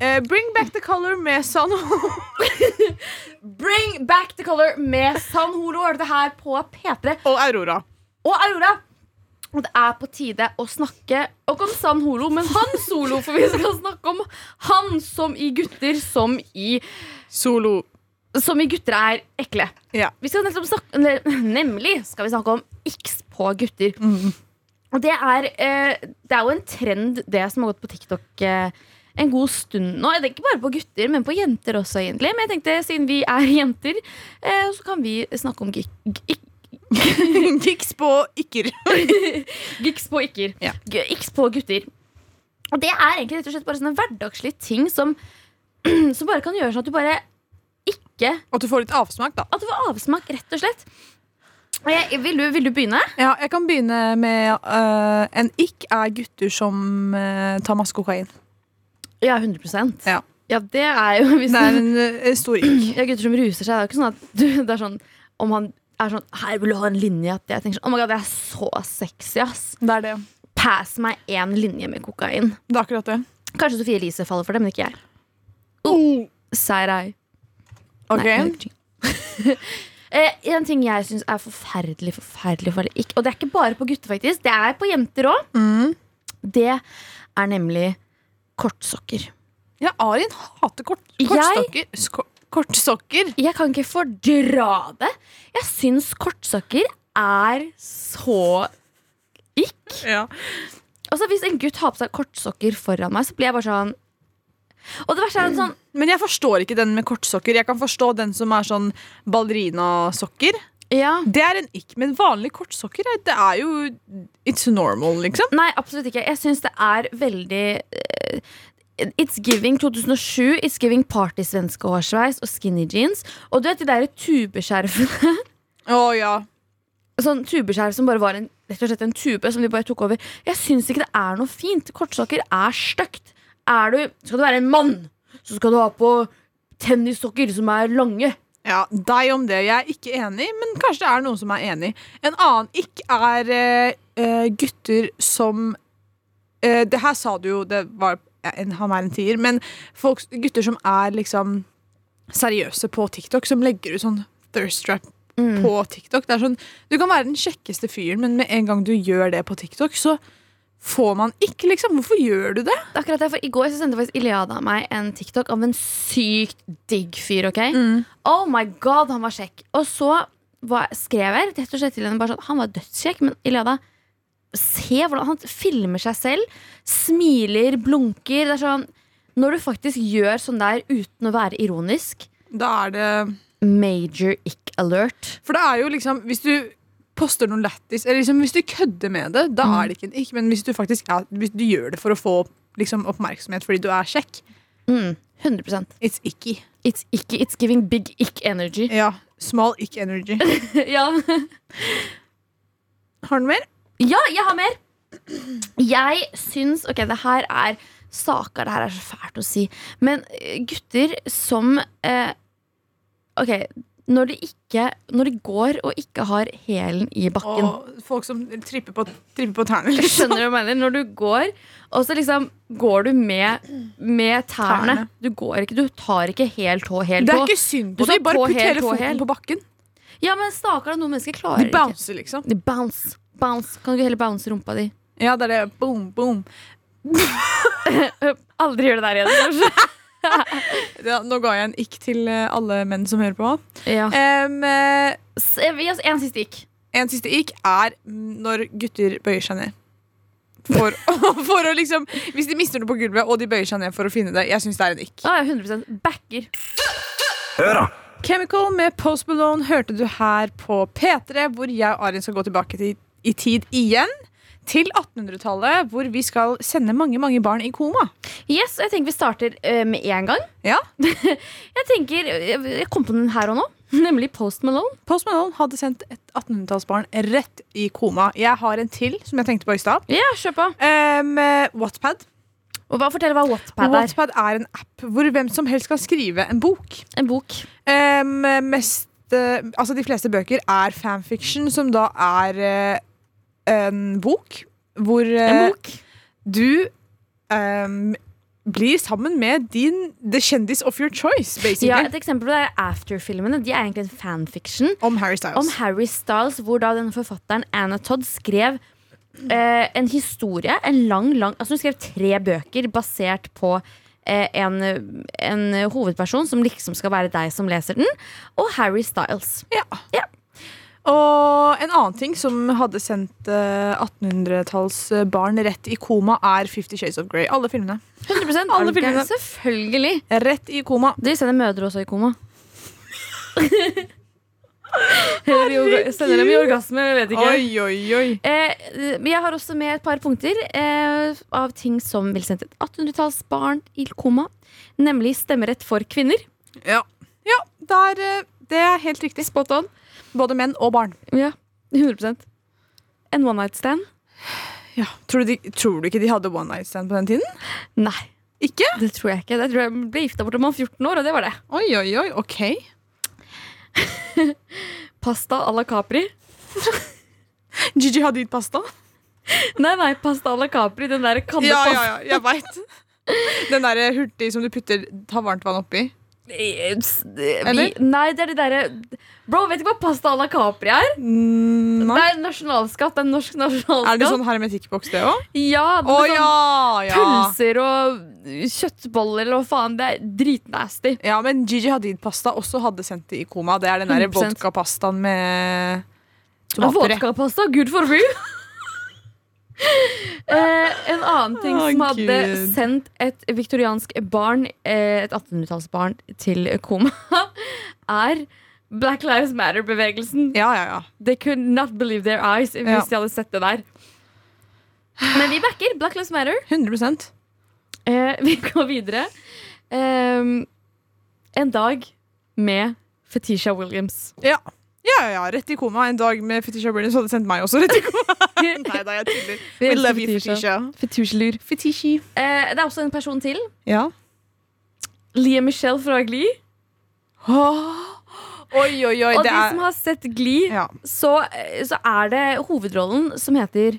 Speaker 3: Eh, Bring Back The Color med San
Speaker 2: Bring back the color med San Holo. Hørte det her på P3.
Speaker 3: og Aurora.
Speaker 2: Og Aurora! Og det er på tide å snakke ikke om San Holo, men han solo. For vi skal snakke om han som i gutter, som i
Speaker 3: Solo.
Speaker 2: som i gutter er ekle.
Speaker 3: Ja.
Speaker 2: Vi skal nettopp snakke, ne- nemlig skal vi snakke om X på gutter. Og det er, eh, det er jo en trend, det som har gått på TikTok eh, en god stund nå. Det er ikke bare på gutter, men på jenter også, egentlig. Men jeg tenkte, siden vi er jenter, eh, så kan vi snakke om gik- gik-
Speaker 3: Kiks på ikker.
Speaker 2: giks på ikker.
Speaker 3: Ja.
Speaker 2: G- X på gutter. Og det er egentlig rett og slett bare sånne hverdagslige ting som, som bare kan gjøre sånn at du bare ikke
Speaker 3: At du får litt avsmak, da.
Speaker 2: At det var avsmak, rett og slett. Og jeg, vil, du, vil du begynne?
Speaker 3: Ja, jeg kan begynne med øh, En ikk er gutter som øh, tar masse kokain.
Speaker 2: Ja, 100
Speaker 3: Ja.
Speaker 2: det er jo hvis
Speaker 3: Det er en øh, stor ikk.
Speaker 2: ja, Gutter som ruser seg, det er jo ikke sånn at du, det er sånn om han er sånn Her vil du ha en linje. At jeg tenker sånn, oh my god, det er så sexy, ass.
Speaker 3: Det er det.
Speaker 2: Pass meg én linje med kokain.
Speaker 3: Det er akkurat det.
Speaker 2: Kanskje Oh. Sofie Elise faller for det, men ikke jeg. Sær ei.
Speaker 3: Ok,
Speaker 2: Nei, jeg gjør ikke det. Eh, en ting jeg syns er forferdelig, forferdelig farlig ikke, Og det er ikke bare på gutter, faktisk. Det er på jenter òg. Det er nemlig kortsokker.
Speaker 3: Ja, Arin hater kort,
Speaker 2: Jeg-
Speaker 3: kortstokker. sko- Kortsokker.
Speaker 2: Jeg kan ikke fordra det. Jeg syns kortsokker er så ikk.
Speaker 3: Ja.
Speaker 2: Altså, hvis en gutt har på seg kortsokker foran meg, så blir jeg bare sånn Og det verste er sånn
Speaker 3: Men jeg forstår ikke den med kortsokker. Jeg kan forstå den som er sånn ballerinasokker.
Speaker 2: Ja.
Speaker 3: Det er en ikk, men vanlige kortsokker er- det er jo It's normal, liksom.
Speaker 2: Nei, absolutt ikke. Jeg syns det er veldig eh, It's giving 2007, it's giving party-svenske hårsveis og skinny jeans. Og du vet de der tubeskjerfene.
Speaker 3: Å ja.
Speaker 2: Sånn tubeskjerf som bare var en, rett og slett en tube som de bare tok over. Jeg syns ikke det er noe fint. Kortsokker er stygt. Er du, skal du være en mann, så skal du ha på tennissokker som er lange.
Speaker 3: Ja, deg om det. Jeg er ikke enig, men kanskje det er noen som er enig. En annen ikk er eh, eh, gutter som eh, Det her sa du jo, det var ja, en, han er en tier, men folk, gutter som er liksom seriøse på TikTok, som legger ut sånn thirst trap på TikTok. Det er sånn, Du kan være den kjekkeste fyren, men med en gang du gjør det på TikTok, så får man ikke, liksom. Hvorfor gjør du det?
Speaker 2: Det er akkurat det, for I går så sendte faktisk Ileada meg en TikTok av en sykt digg fyr. ok? Oh my god, han var kjekk. Og så var, skrev jeg rett og slett til henne bare sånn, han var dødskjekk, men Ileada Se hvordan han filmer seg selv. Smiler, blunker. Det er sånn Når du faktisk gjør sånn der uten å være ironisk
Speaker 3: Da er det
Speaker 2: Major ick alert.
Speaker 3: For det er jo liksom Hvis du poster noen lættis, eller liksom hvis du kødder med det, da er det ikke en ikk. Men hvis du faktisk er, hvis du gjør det for å få liksom, oppmerksomhet fordi du er kjekk,
Speaker 2: Mm, 100
Speaker 3: it's icky.
Speaker 2: It's icky. It's giving big ick energy.
Speaker 3: Ja, Small ick energy.
Speaker 2: ja
Speaker 3: Har du mer?
Speaker 2: Ja, jeg har mer. Jeg syns Ok, det her er saker. Det her er så fælt å si. Men eh, gutter som eh, Ok, når de ikke Når de går og ikke har hælen i bakken
Speaker 3: Og folk som tripper på, tripper på tærne. liksom.
Speaker 2: Skjønner du hva jeg mener? Når du går, og så liksom går du med, med tærne.
Speaker 3: Tærne.
Speaker 2: Du går ikke, du tar ikke helt tå, helt
Speaker 3: Det er
Speaker 2: tå.
Speaker 3: ikke synd
Speaker 2: Du
Speaker 3: på
Speaker 2: sa
Speaker 3: dem. Bare
Speaker 2: tå,
Speaker 3: putt
Speaker 2: hæl,
Speaker 3: hele
Speaker 2: tå, hæl.
Speaker 3: foten på bakken.
Speaker 2: Ja, men stakkar, noen mennesker
Speaker 3: De
Speaker 2: klarer det ikke.
Speaker 3: bouncer, liksom.
Speaker 2: De bounce. Bounce. Kan du ikke heller bounce rumpa di?
Speaker 3: Ja, det er det. Boom, boom.
Speaker 2: Aldri gjør det der igjen, kanskje.
Speaker 3: Ja, nå ga jeg en ikk til eh, alle menn som hører på.
Speaker 2: Ja.
Speaker 3: Em, eh,
Speaker 2: S- vi- En siste gikk.
Speaker 3: En siste ikk er når gutter bøyer seg ned. For, for å liksom Hvis de mister noe på gulvet, og de bøyer seg ned for å finne det. Jeg synes det er en ikk
Speaker 2: Ja, ja, 100 backer.
Speaker 1: Hør da.
Speaker 3: Chemical med Post Malone hørte du her på P3, hvor jeg og Arin skal gå tilbake til, i tid igjen. Til 1800-tallet, hvor vi skal sende mange mange barn i koma.
Speaker 2: Yes, og jeg tenker vi starter eh, med en gang.
Speaker 3: Ja,
Speaker 2: Jeg tenker, jeg jeg kom på den her og nå, nemlig Post Malone.
Speaker 3: Post Malone hadde sendt et 1800-tallsbarn rett i koma. Jeg har en til som jeg tenkte på i stad.
Speaker 2: Ja, kjør på.
Speaker 3: Um, Wattpad.
Speaker 2: Og hva, fortell hva Wattpad er.
Speaker 3: Wattpad er en app hvor hvem som helst kan skrive en bok.
Speaker 2: En bok.
Speaker 3: Em, mest, eh, altså de fleste bøker er fanfiction, som da er eh, en bok hvor eh,
Speaker 2: En bok.
Speaker 3: du em, blir sammen med din the kjendis of your choice, basically.
Speaker 2: Ja, et eksempel på det er After-filmene. De er egentlig en fanfiction
Speaker 3: Om Harry Styles.
Speaker 2: om Harry Styles, hvor da denne forfatteren Anna Todd skrev eh, en historie, en lang, lang Altså hun skrev tre bøker basert på eh, en, en hovedperson som liksom skal være deg som leser den, og Harry Styles.
Speaker 3: ja.
Speaker 2: Ja.
Speaker 3: Og en annen ting som hadde sendt eh, 1800-tallsbarn rett i koma, er Fifty Shades of Grey. Alle filmene.
Speaker 2: 100
Speaker 3: Alle filmene.
Speaker 2: Selvfølgelig.
Speaker 3: Rett i koma.
Speaker 2: De sender mødre også i koma. Eller i orga- sender dem i orgasme, jeg vet ikke.
Speaker 3: Oi, oi, oi.
Speaker 2: Eh, men jeg har også med et par punkter eh, av ting som vil sende et 1800-tallsbarn i koma. Nemlig stemmerett for kvinner.
Speaker 3: Ja, ja der, eh, det er helt riktig.
Speaker 2: Spot on.
Speaker 3: Både menn og barn.
Speaker 2: Ja, 100 En one night stand?
Speaker 3: Ja, tror, du de, tror du ikke de hadde one night stand på den tiden?
Speaker 2: Nei,
Speaker 3: Ikke?
Speaker 2: det tror jeg ikke. Jeg tror jeg ble gifta bort da man var 14 år, og det var det.
Speaker 3: Oi, oi, oi, ok.
Speaker 2: Pasta à la Capri.
Speaker 3: Gigi Hadid-pasta.
Speaker 2: Nei, nei, pasta à la Capri. Den der kalde
Speaker 3: Ja,
Speaker 2: pastaen.
Speaker 3: eh, ja, ja, jeg veit. Den derre hurtig som du putter, tar varmt vann oppi.
Speaker 2: eh, s- eh, vi,
Speaker 3: Eller?
Speaker 2: Nei, det er de derre Bro, vet du hva pasta à la Capri er?
Speaker 3: Mm,
Speaker 2: Det
Speaker 3: nei.
Speaker 2: er nasjonalskatt. Det er norsk nasjonalskatt.
Speaker 3: Er det sånn hermetikkboks, det òg?
Speaker 2: Ja,
Speaker 3: Å
Speaker 2: med
Speaker 3: ja,
Speaker 2: sånn
Speaker 3: ja.
Speaker 2: pølser og kjøttboller eller hva faen. Det er dritnasty.
Speaker 3: Ja, men Gigi Hadid-pasta også hadde sendt det i koma. Det er den der
Speaker 2: 100%.
Speaker 3: vodkapastaen med tomater i.
Speaker 2: Vodkapasta, good for you! eh, en annen ting
Speaker 3: Å,
Speaker 2: som hadde
Speaker 3: Gud.
Speaker 2: sendt et viktoriansk barn, eh, et 1800-tallsbarn, til koma, er Black Lives Matter-bevegelsen.
Speaker 3: Ja, ja, ja.
Speaker 2: They could not believe their eyes hvis
Speaker 3: Ja.
Speaker 2: de hadde sett det der. Men vi backer Black Lives Matter.
Speaker 3: 100
Speaker 2: Eh, vi går videre. Ehm, en dag med Fetisha Williams.
Speaker 3: Ja. Ja, ja, ja, rett i koma. En dag med Fetisha Williams hadde sendt meg også rett i koma. Nei da, jeg tuller.
Speaker 2: Vi
Speaker 3: We
Speaker 2: elsker
Speaker 3: love you,
Speaker 2: Fetisha.
Speaker 3: Fetisha.
Speaker 2: Fetushlur. Eh, det er også en person til.
Speaker 3: Ja.
Speaker 2: Lia Michelle fra Glee.
Speaker 3: Oi, oi, oi.
Speaker 2: Og
Speaker 3: Det
Speaker 2: de
Speaker 3: er
Speaker 2: som har sett Glee,
Speaker 3: ja.
Speaker 2: så, eh, så er det hovedrollen som heter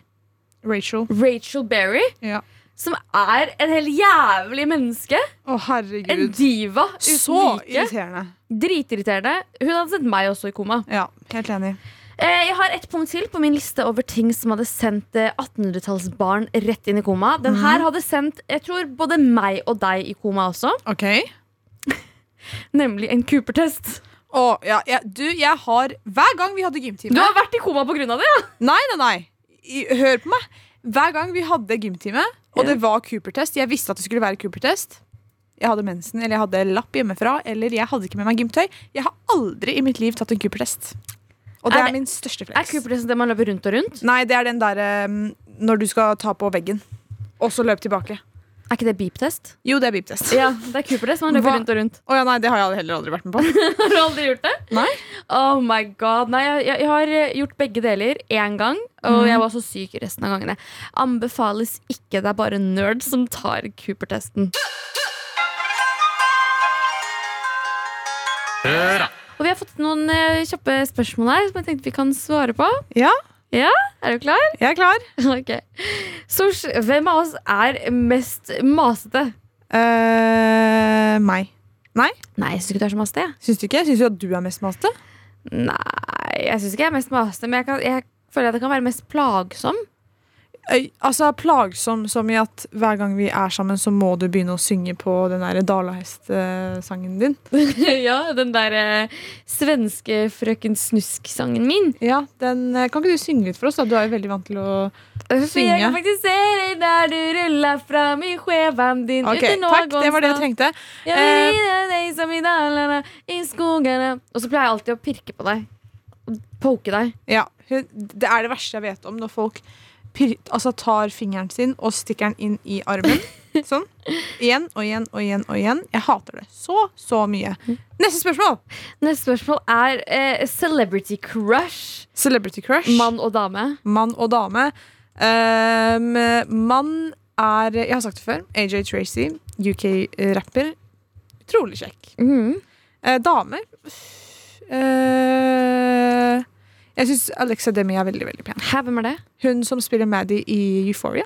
Speaker 3: Rachel.
Speaker 2: Rachel Berry.
Speaker 3: Ja.
Speaker 2: Som er en helt jævlig menneske.
Speaker 3: Å,
Speaker 2: En
Speaker 3: herregud.
Speaker 2: diva uten
Speaker 3: Så
Speaker 2: like.
Speaker 3: irriterende.
Speaker 2: Dritirriterende. Hun hadde sett meg også i koma.
Speaker 3: Ja, helt enig.
Speaker 2: Eh, Jeg har ett punkt til på min liste over ting som hadde sendt eh, 1800-tallsbarn rett inn i koma. Den her hadde sendt jeg tror, både meg og deg i koma også,
Speaker 3: OK.
Speaker 2: nemlig en Cooper-test.
Speaker 3: Å, ja, ja, du, jeg har Hver gang vi hadde
Speaker 2: Du
Speaker 3: gymtime
Speaker 2: har vært i koma pga. det, ja!
Speaker 3: Nei, nei, nei. I, hør på meg. Hver gang vi hadde gymtime, og
Speaker 2: Ja.
Speaker 3: det var Cooper-test Jeg visste at det skulle være Cooper-test. Jeg hadde mensen, eller jeg hadde lapp hjemmefra, eller jeg hadde ikke med meg gymtøy. Jeg har aldri i mitt liv tatt en Cooper-test. Og det
Speaker 2: Er
Speaker 3: er,
Speaker 2: det-
Speaker 3: min største
Speaker 2: Er
Speaker 3: flex.
Speaker 2: Cooper-testen det man løper rundt og rundt?
Speaker 3: Nei, det er den derre når du skal ta på veggen, og så løpe tilbake.
Speaker 2: Er ikke det beep-test?
Speaker 3: Jo, det er beep-test. Å
Speaker 2: Ja, det er Cooper-test man løper
Speaker 3: Hva-
Speaker 2: rundt og rundt.
Speaker 3: ja, nei, det har jeg heller aldri vært med på.
Speaker 2: Har du aldri gjort det?
Speaker 3: Nei.
Speaker 2: Oh my god. Nei, jeg, jeg, jeg har eh, gjort begge deler én gang, og jeg var så syk resten av gangene. Anbefales ikke. Det er bare nerds som tar Cooper-testen.
Speaker 1: Høra.
Speaker 2: Og vi har fått noen eh, kjappe spørsmål her som jeg tenkte vi kan svare på.
Speaker 3: Ja,
Speaker 2: Er du klar?
Speaker 3: jeg er klar.
Speaker 2: ok. Sosh, hvem av oss er mest masete?
Speaker 3: Eh, meg.
Speaker 2: Nei, jeg syns ikke du er så masete. jeg.
Speaker 3: Syns du ikke? Syns du at du er mest maste?
Speaker 2: Nei, jeg syns ikke jeg er mest masete, men jeg, kan, jeg føler at jeg kan være mest plagsom.
Speaker 3: Øy, altså plagsom som i at hver gang vi er sammen, så må du begynne å synge på den der dalahest-sangen din.
Speaker 2: ja, den der eh, svenske Frøken Snusk-sangen min.
Speaker 3: Ja, den, eh, Kan ikke du synge litt for oss? da? Du er jo veldig vant til å
Speaker 2: For Jeg kan
Speaker 3: Synge.
Speaker 2: faktisk se deg der du ruller fram i skjevan din
Speaker 3: Ok,
Speaker 2: uten
Speaker 3: takk,
Speaker 2: noen
Speaker 3: det var det jeg Eh,
Speaker 2: stans.
Speaker 3: trengte.
Speaker 2: Jeg vil gi deg deg som i dalene, i skogene Og så pleier jeg alltid å pirke på deg. Poke deg.
Speaker 3: Ja, hun, Det er det verste jeg vet om, når folk pir, altså, tar fingeren sin og stikker den inn i armen. Sånn. Igjen og igjen og igjen. og igjen Jeg hater det så, så mye. Neste spørsmål!
Speaker 2: Neste spørsmål er eh, celebrity crush.
Speaker 3: Celebrity crush.
Speaker 2: Mann og dame.
Speaker 3: mann og dame. Ehm, mann er Jeg har sagt det før. AJ Tracy, UK-rapper. Utrolig kjekk. Eh, dame eh, Jeg syns Alexa Demi er veldig veldig pen.
Speaker 2: Hæ, hvem er det?
Speaker 3: Hun som spiller Maddie i Euphoria.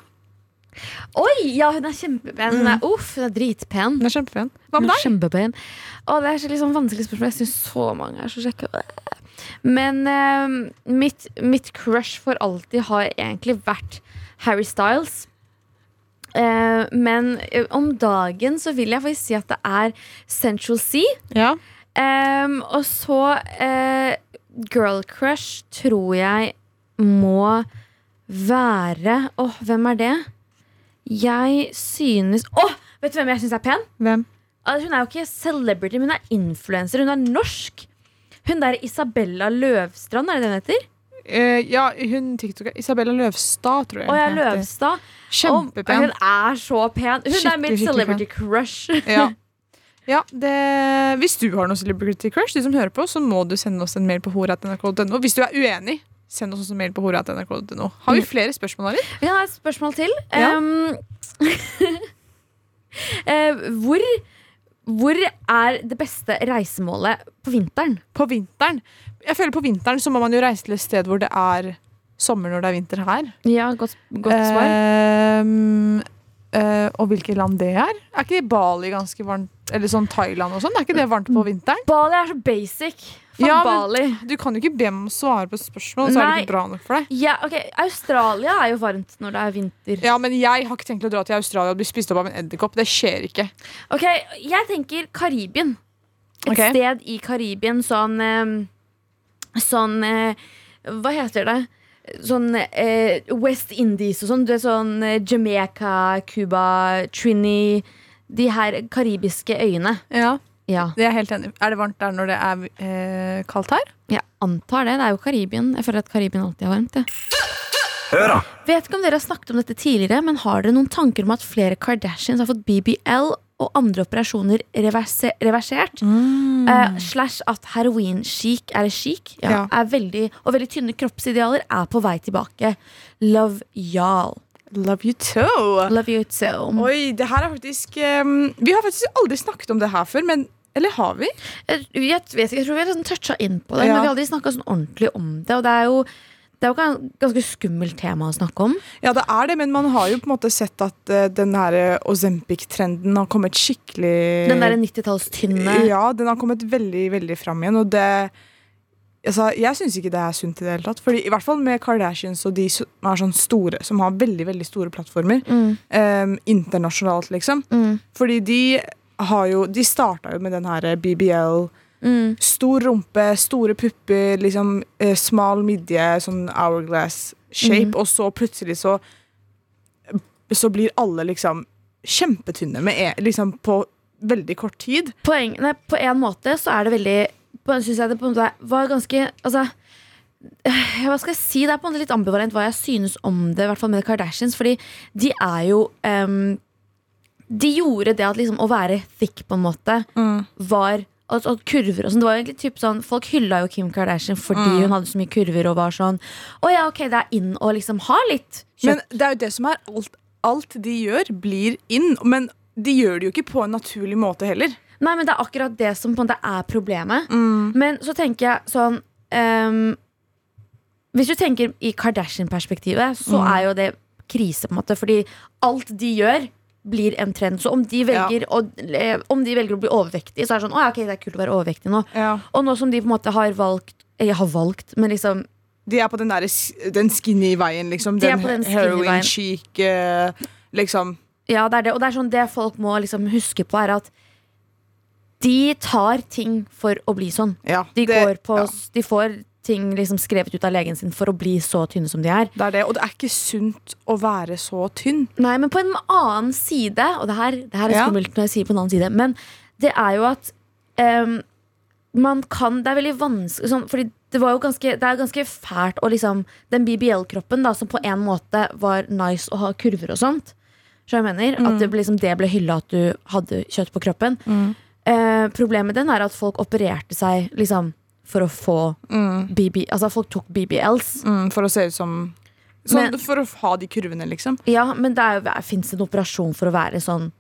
Speaker 2: Oi, ja, hun er kjempepen.
Speaker 3: Mm.
Speaker 2: Hun er, uff, hun er dritpen.
Speaker 3: Hun er kjempepen. Hva
Speaker 2: Hun er
Speaker 3: med deg?
Speaker 2: Kjempepen. Å, det er så litt sånn vanskelig spørsmål. Jeg syns så mange er så kjekke. Men eh, mitt, mitt crush for alltid har egentlig vært Harry Styles. Eh, men eh, om dagen så vil jeg faktisk si at det er Central C.
Speaker 3: Ja.
Speaker 2: Ehm, og så eh, Girl crush tror jeg må være Åh, hvem er det? Jeg synes Åh, vet du hvem jeg syns er pen?
Speaker 3: Hvem?
Speaker 2: Ah, Hun er jo ikke celebrity, men hun er influenser. Hun er norsk. Hun der Isabella Løvstrand, er det det hun heter?
Speaker 3: Eh, ja, hun TikToker. Isabella Løvstad, tror jeg.
Speaker 2: Å ja,
Speaker 3: hun heter.
Speaker 2: Løvstad. Å,
Speaker 3: Kjempepen.
Speaker 2: Hun er så pen. Hun er
Speaker 3: Skikkelig,
Speaker 2: mitt
Speaker 3: skikkelig
Speaker 2: celebrity crush.
Speaker 3: Ja. Ja, det, Hvis du har noen celebrity crush, de som hører på, så må du sende oss en mail på hora.nrk.no. Hvis du er uenig, send oss også en mail på hora.nrk.no. Har vi flere spørsmål, Ari?
Speaker 2: Vi har et spørsmål til.
Speaker 3: Ja.
Speaker 2: Ehm, eh, hvor, hvor er det beste reisemålet på vinteren?
Speaker 3: På vinteren. Jeg føler På vinteren så må man jo reise til et sted hvor det
Speaker 2: Eh,
Speaker 3: er sommer når det er vinter her.
Speaker 2: Ja, godt,
Speaker 3: Ehm, eh, og hvilke land det er. Er ikke Bali ganske varmt? Eller sånn Thailand og sånn? Er ikke det varmt på vinteren?
Speaker 2: Bali er så basic. Faen,
Speaker 3: Ja, men-
Speaker 2: Bali.
Speaker 3: Du kan jo ikke be om å svare på spørsmål, så er
Speaker 2: Nei.
Speaker 3: det ikke bra nok for deg.
Speaker 2: Ja, ok, Australia er jo varmt når det er vinter.
Speaker 3: Ja, men jeg har ikke tenkt å dra til Australia og bli spist opp av en edderkopp. Det skjer ikke.
Speaker 2: Ok, Jeg tenker Karibien. Et
Speaker 3: Ok.
Speaker 2: sted i Karibien sånn eh, Sånn eh, Hva heter det? Sånn eh, West Indies og sånn. Du er sånn eh, Jamaica, Cuba, Trini De her karibiske øyene.
Speaker 3: Ja,
Speaker 2: Ja,
Speaker 3: det er jeg helt enig i. Er det varmt der når det er eh, kaldt her?
Speaker 2: jeg antar det. Det er jo Karibien. Jeg føler at Karibien alltid er varmt. Ja.
Speaker 1: Hør da.
Speaker 2: Vet ikke om dere har snakket om dette tidligere, men har dere noen tanker om at flere Kardashians har fått BBL og andre operasjoner reverse, reversert? Eh, slash at heroin-chic er chic. Ja,
Speaker 3: Mm. Ja.
Speaker 2: Er veldig, og veldig tynne kroppsidealer er på vei tilbake. Love y'all.
Speaker 3: Love you too.
Speaker 2: Love you too.
Speaker 3: Oi, det her er faktisk ehm, Vi har faktisk aldri snakket om det her før, men Eller har vi?
Speaker 2: Jeg, vet ikke, jeg tror vi har sånn toucha inn på det,
Speaker 3: Ja.
Speaker 2: men vi har aldri snakka sånn ordentlig om det. Og det er jo det er jo gan- ganske skummelt tema å snakke om.
Speaker 3: Ja, det er det, men man har jo på en måte sett at eh, den her Ozempic-trenden har kommet skikkelig
Speaker 2: Den derre 90-tallstynne
Speaker 3: Ja, den har kommet veldig, veldig fram igjen, og det Altså, jeg syns ikke det er sunt i det hele tatt. Fordi, I hvert fall med Kardashians og de som er sånn store, som har veldig veldig store plattformer
Speaker 2: Mm.
Speaker 3: ehm, internasjonalt, liksom.
Speaker 2: Mm.
Speaker 3: Fordi de har jo De starta jo med den her BBL.
Speaker 2: Mm.
Speaker 3: Stor rumpe, store pupper, liksom eh, smal midje, sånn hourglass shape,
Speaker 2: Mm.
Speaker 3: og så plutselig så Så blir alle liksom kjempetynne med e- liksom på veldig kort tid.
Speaker 2: poeng, nei, på en måte så er det veldig på, synes jeg det på en måte er- var ganske altså, eh, Hva skal jeg si? Det er på en måte litt ambivalent hva jeg synes om det, i hvert fall med Kardashians. Fordi de er jo em, De gjorde det at liksom å være thick, på en måte, var at, at kurver og sånn, det var jo egentlig typ sånn Folk hylla jo Kim Kardashian fordi hun hadde så mye kurver og var sånn Å ja, ok, det er in å liksom ha litt kjøtt.
Speaker 3: Men det er jo det som er alt, alt de gjør, blir inn. Men de gjør det jo ikke på en naturlig måte heller.
Speaker 2: Nei, men det er akkurat det som på en måte er problemet. Men så tenker jeg sånn ehm, Hvis du tenker i Kardashian-perspektivet, så er jo det krise, på en måte. Fordi alt de gjør, blir en trend. Så om de velger, å, eh, om de velger å bli overvektige, så er det sånn Å ja, ok, det er kult å være overvektig nå. Og nå som de på en måte har valgt jeg har valgt, men liksom
Speaker 3: De er på den, der, s- den skinny veien, liksom.
Speaker 2: De er på den skinny veien.
Speaker 3: heroin chic, eh, liksom.
Speaker 2: Ja, det er det. Og det er sånn det folk må liksom huske på, er at de tar ting for å bli sånn.
Speaker 3: Ja,
Speaker 2: De,
Speaker 3: det-
Speaker 2: går på,
Speaker 3: ja.
Speaker 2: de får ting liksom skrevet ut av legen sin for å bli så tynne som de er.
Speaker 3: Det er det, og det er ikke sunt å være så tynn.
Speaker 2: Nei, men på en annen side, og det her, det her er
Speaker 3: Ja.
Speaker 2: skummelt når jeg sier på en annen side, men det er jo at em, man kan Det er veldig vanskelig sånn, Fordi det var jo ganske Det er ganske fælt å liksom Den BBL-kroppen, da, som på en måte var nice å ha kurver og sånt, så jeg mener, at det ble, liksom, det ble hylla at du hadde kjøtt på kroppen. Eh, problemet med den er at folk opererte seg liksom for å få BB, altså folk tok BBLs.
Speaker 3: Mm, for å se ut som sånn,
Speaker 2: Men-
Speaker 3: For å ha de kurvene, liksom.
Speaker 2: Ja, men det er jo- finnes det en operasjon for å være sånn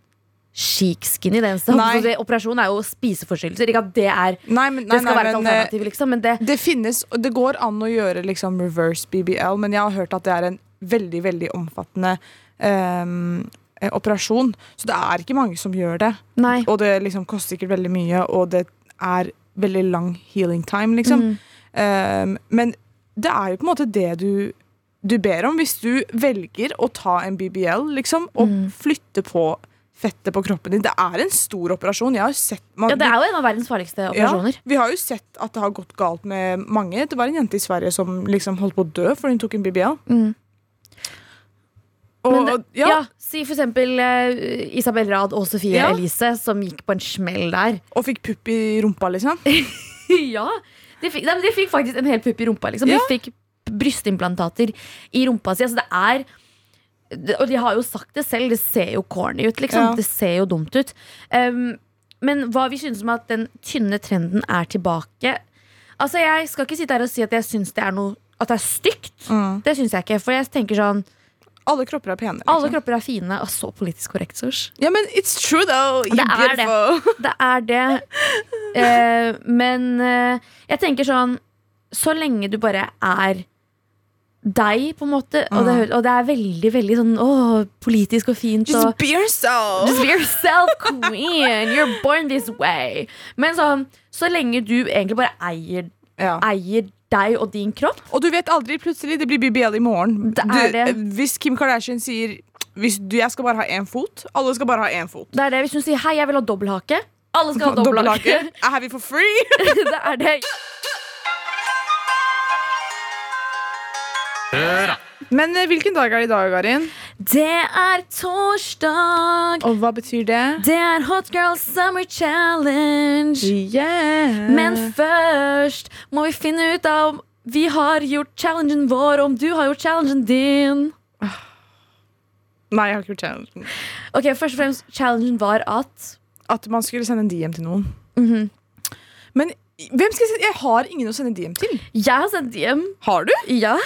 Speaker 2: chic skinny. Det eneste
Speaker 3: Nei.
Speaker 2: Så det, Operasjon er jo spiseforstyrrelser. Ikke at det er
Speaker 3: Nei, men, nei,
Speaker 2: Det skal
Speaker 3: nei,
Speaker 2: være et
Speaker 3: men, eh,
Speaker 2: alternativ, liksom, men det
Speaker 3: Det finnes, og det går an å gjøre liksom reverse BBL, men jeg har hørt at det er en veldig, veldig omfattende ehm, eh, operasjon. Så det er ikke mange som gjør det.
Speaker 2: Nei.
Speaker 3: Og det liksom koster sikkert veldig mye, og det er veldig lang healing time, liksom.
Speaker 2: Mm.
Speaker 3: Ehm, men det er jo på en måte det du, du ber om hvis du velger å ta en BBL, liksom, og
Speaker 2: Mm.
Speaker 3: flytte på fettet på kroppen din. Det er en stor operasjon. Jeg har jo sett man-
Speaker 2: Ja, det er jo en av verdens farligste operasjoner.
Speaker 3: ja, vi har jo sett at det har gått galt med mange. Det var en jente i Sverige som liksom holdt på å dø fordi hun tok en BBL.
Speaker 2: Mm.
Speaker 3: Og,
Speaker 2: Men det, ja.
Speaker 3: ja,
Speaker 2: Si for eksempel eh, Isabel Rad og Sofie
Speaker 3: Ja.
Speaker 2: Elise, som gikk på en smell der.
Speaker 3: og fikk pupp i rumpa, liksom.
Speaker 2: ja! De fikk, nei, men de fikk faktisk en hel pupp i rumpa. Liksom.
Speaker 3: Ja.
Speaker 2: De fikk brystimplantater i rumpa si. Altså, det er det- Og de har jo sagt det selv, det ser jo corny ut. Liksom.
Speaker 3: Ja.
Speaker 2: Det ser jo dumt ut. Um, men hva vi synes om at den tynne trenden er tilbake Altså, Jeg skal ikke sitte her og si at jeg syns det er noe At det er stygt. Det syns jeg ikke. For jeg tenker sånn
Speaker 3: Alle kropper Mm. er pene. Liksom.
Speaker 2: Alle kropper er fine. Og så politisk korrekt, Sosh.
Speaker 3: Ja, men it's true, though.
Speaker 2: Det
Speaker 3: You're
Speaker 2: er det.
Speaker 3: beautiful.
Speaker 2: Det er det. Eh, men eh, jeg tenker sånn Så lenge du bare er deg, på en måte. Og det,
Speaker 3: Mm.
Speaker 2: hø- og det er veldig veldig sånn åh, politisk og fint. Og,
Speaker 3: Just be yourself!
Speaker 2: Just be yourself, queen! You're born this way. Men sånn, så lenge du egentlig bare eier,
Speaker 3: Ja.
Speaker 2: eier deg og din kropp
Speaker 3: Og du vet aldri, plutselig det blir BBL i morgen.
Speaker 2: Det er
Speaker 3: Du-
Speaker 2: det.
Speaker 3: Hvis Kim Kardashian sier hvis du, jeg skal bare ha én fot, alle skal bare ha én fot.
Speaker 2: Det er det Hvis hun sier 'hei, jeg vil ha dobbelthake', alle skal ha dobbelthake.
Speaker 3: Dobbelthake. I have it for free!
Speaker 2: det er det.
Speaker 3: Men eh, hvilken dag er det i dag, Arin?
Speaker 2: Det er torsdag.
Speaker 3: Og hva betyr det?
Speaker 2: Det er Hot Girl Summer Challenge. Men først må vi finne ut av om vi har gjort challengen vår, om du har gjort challengen din.
Speaker 3: Nei, jeg har ikke gjort challengen.
Speaker 2: Ok, Først og fremst, challengen var at
Speaker 3: At man skulle sende en DM til noen. Men i- hvem skal jeg sende? Jeg har ingen å sende DM til.
Speaker 2: jeg har sendt hjem.
Speaker 3: Har du?
Speaker 2: Ja.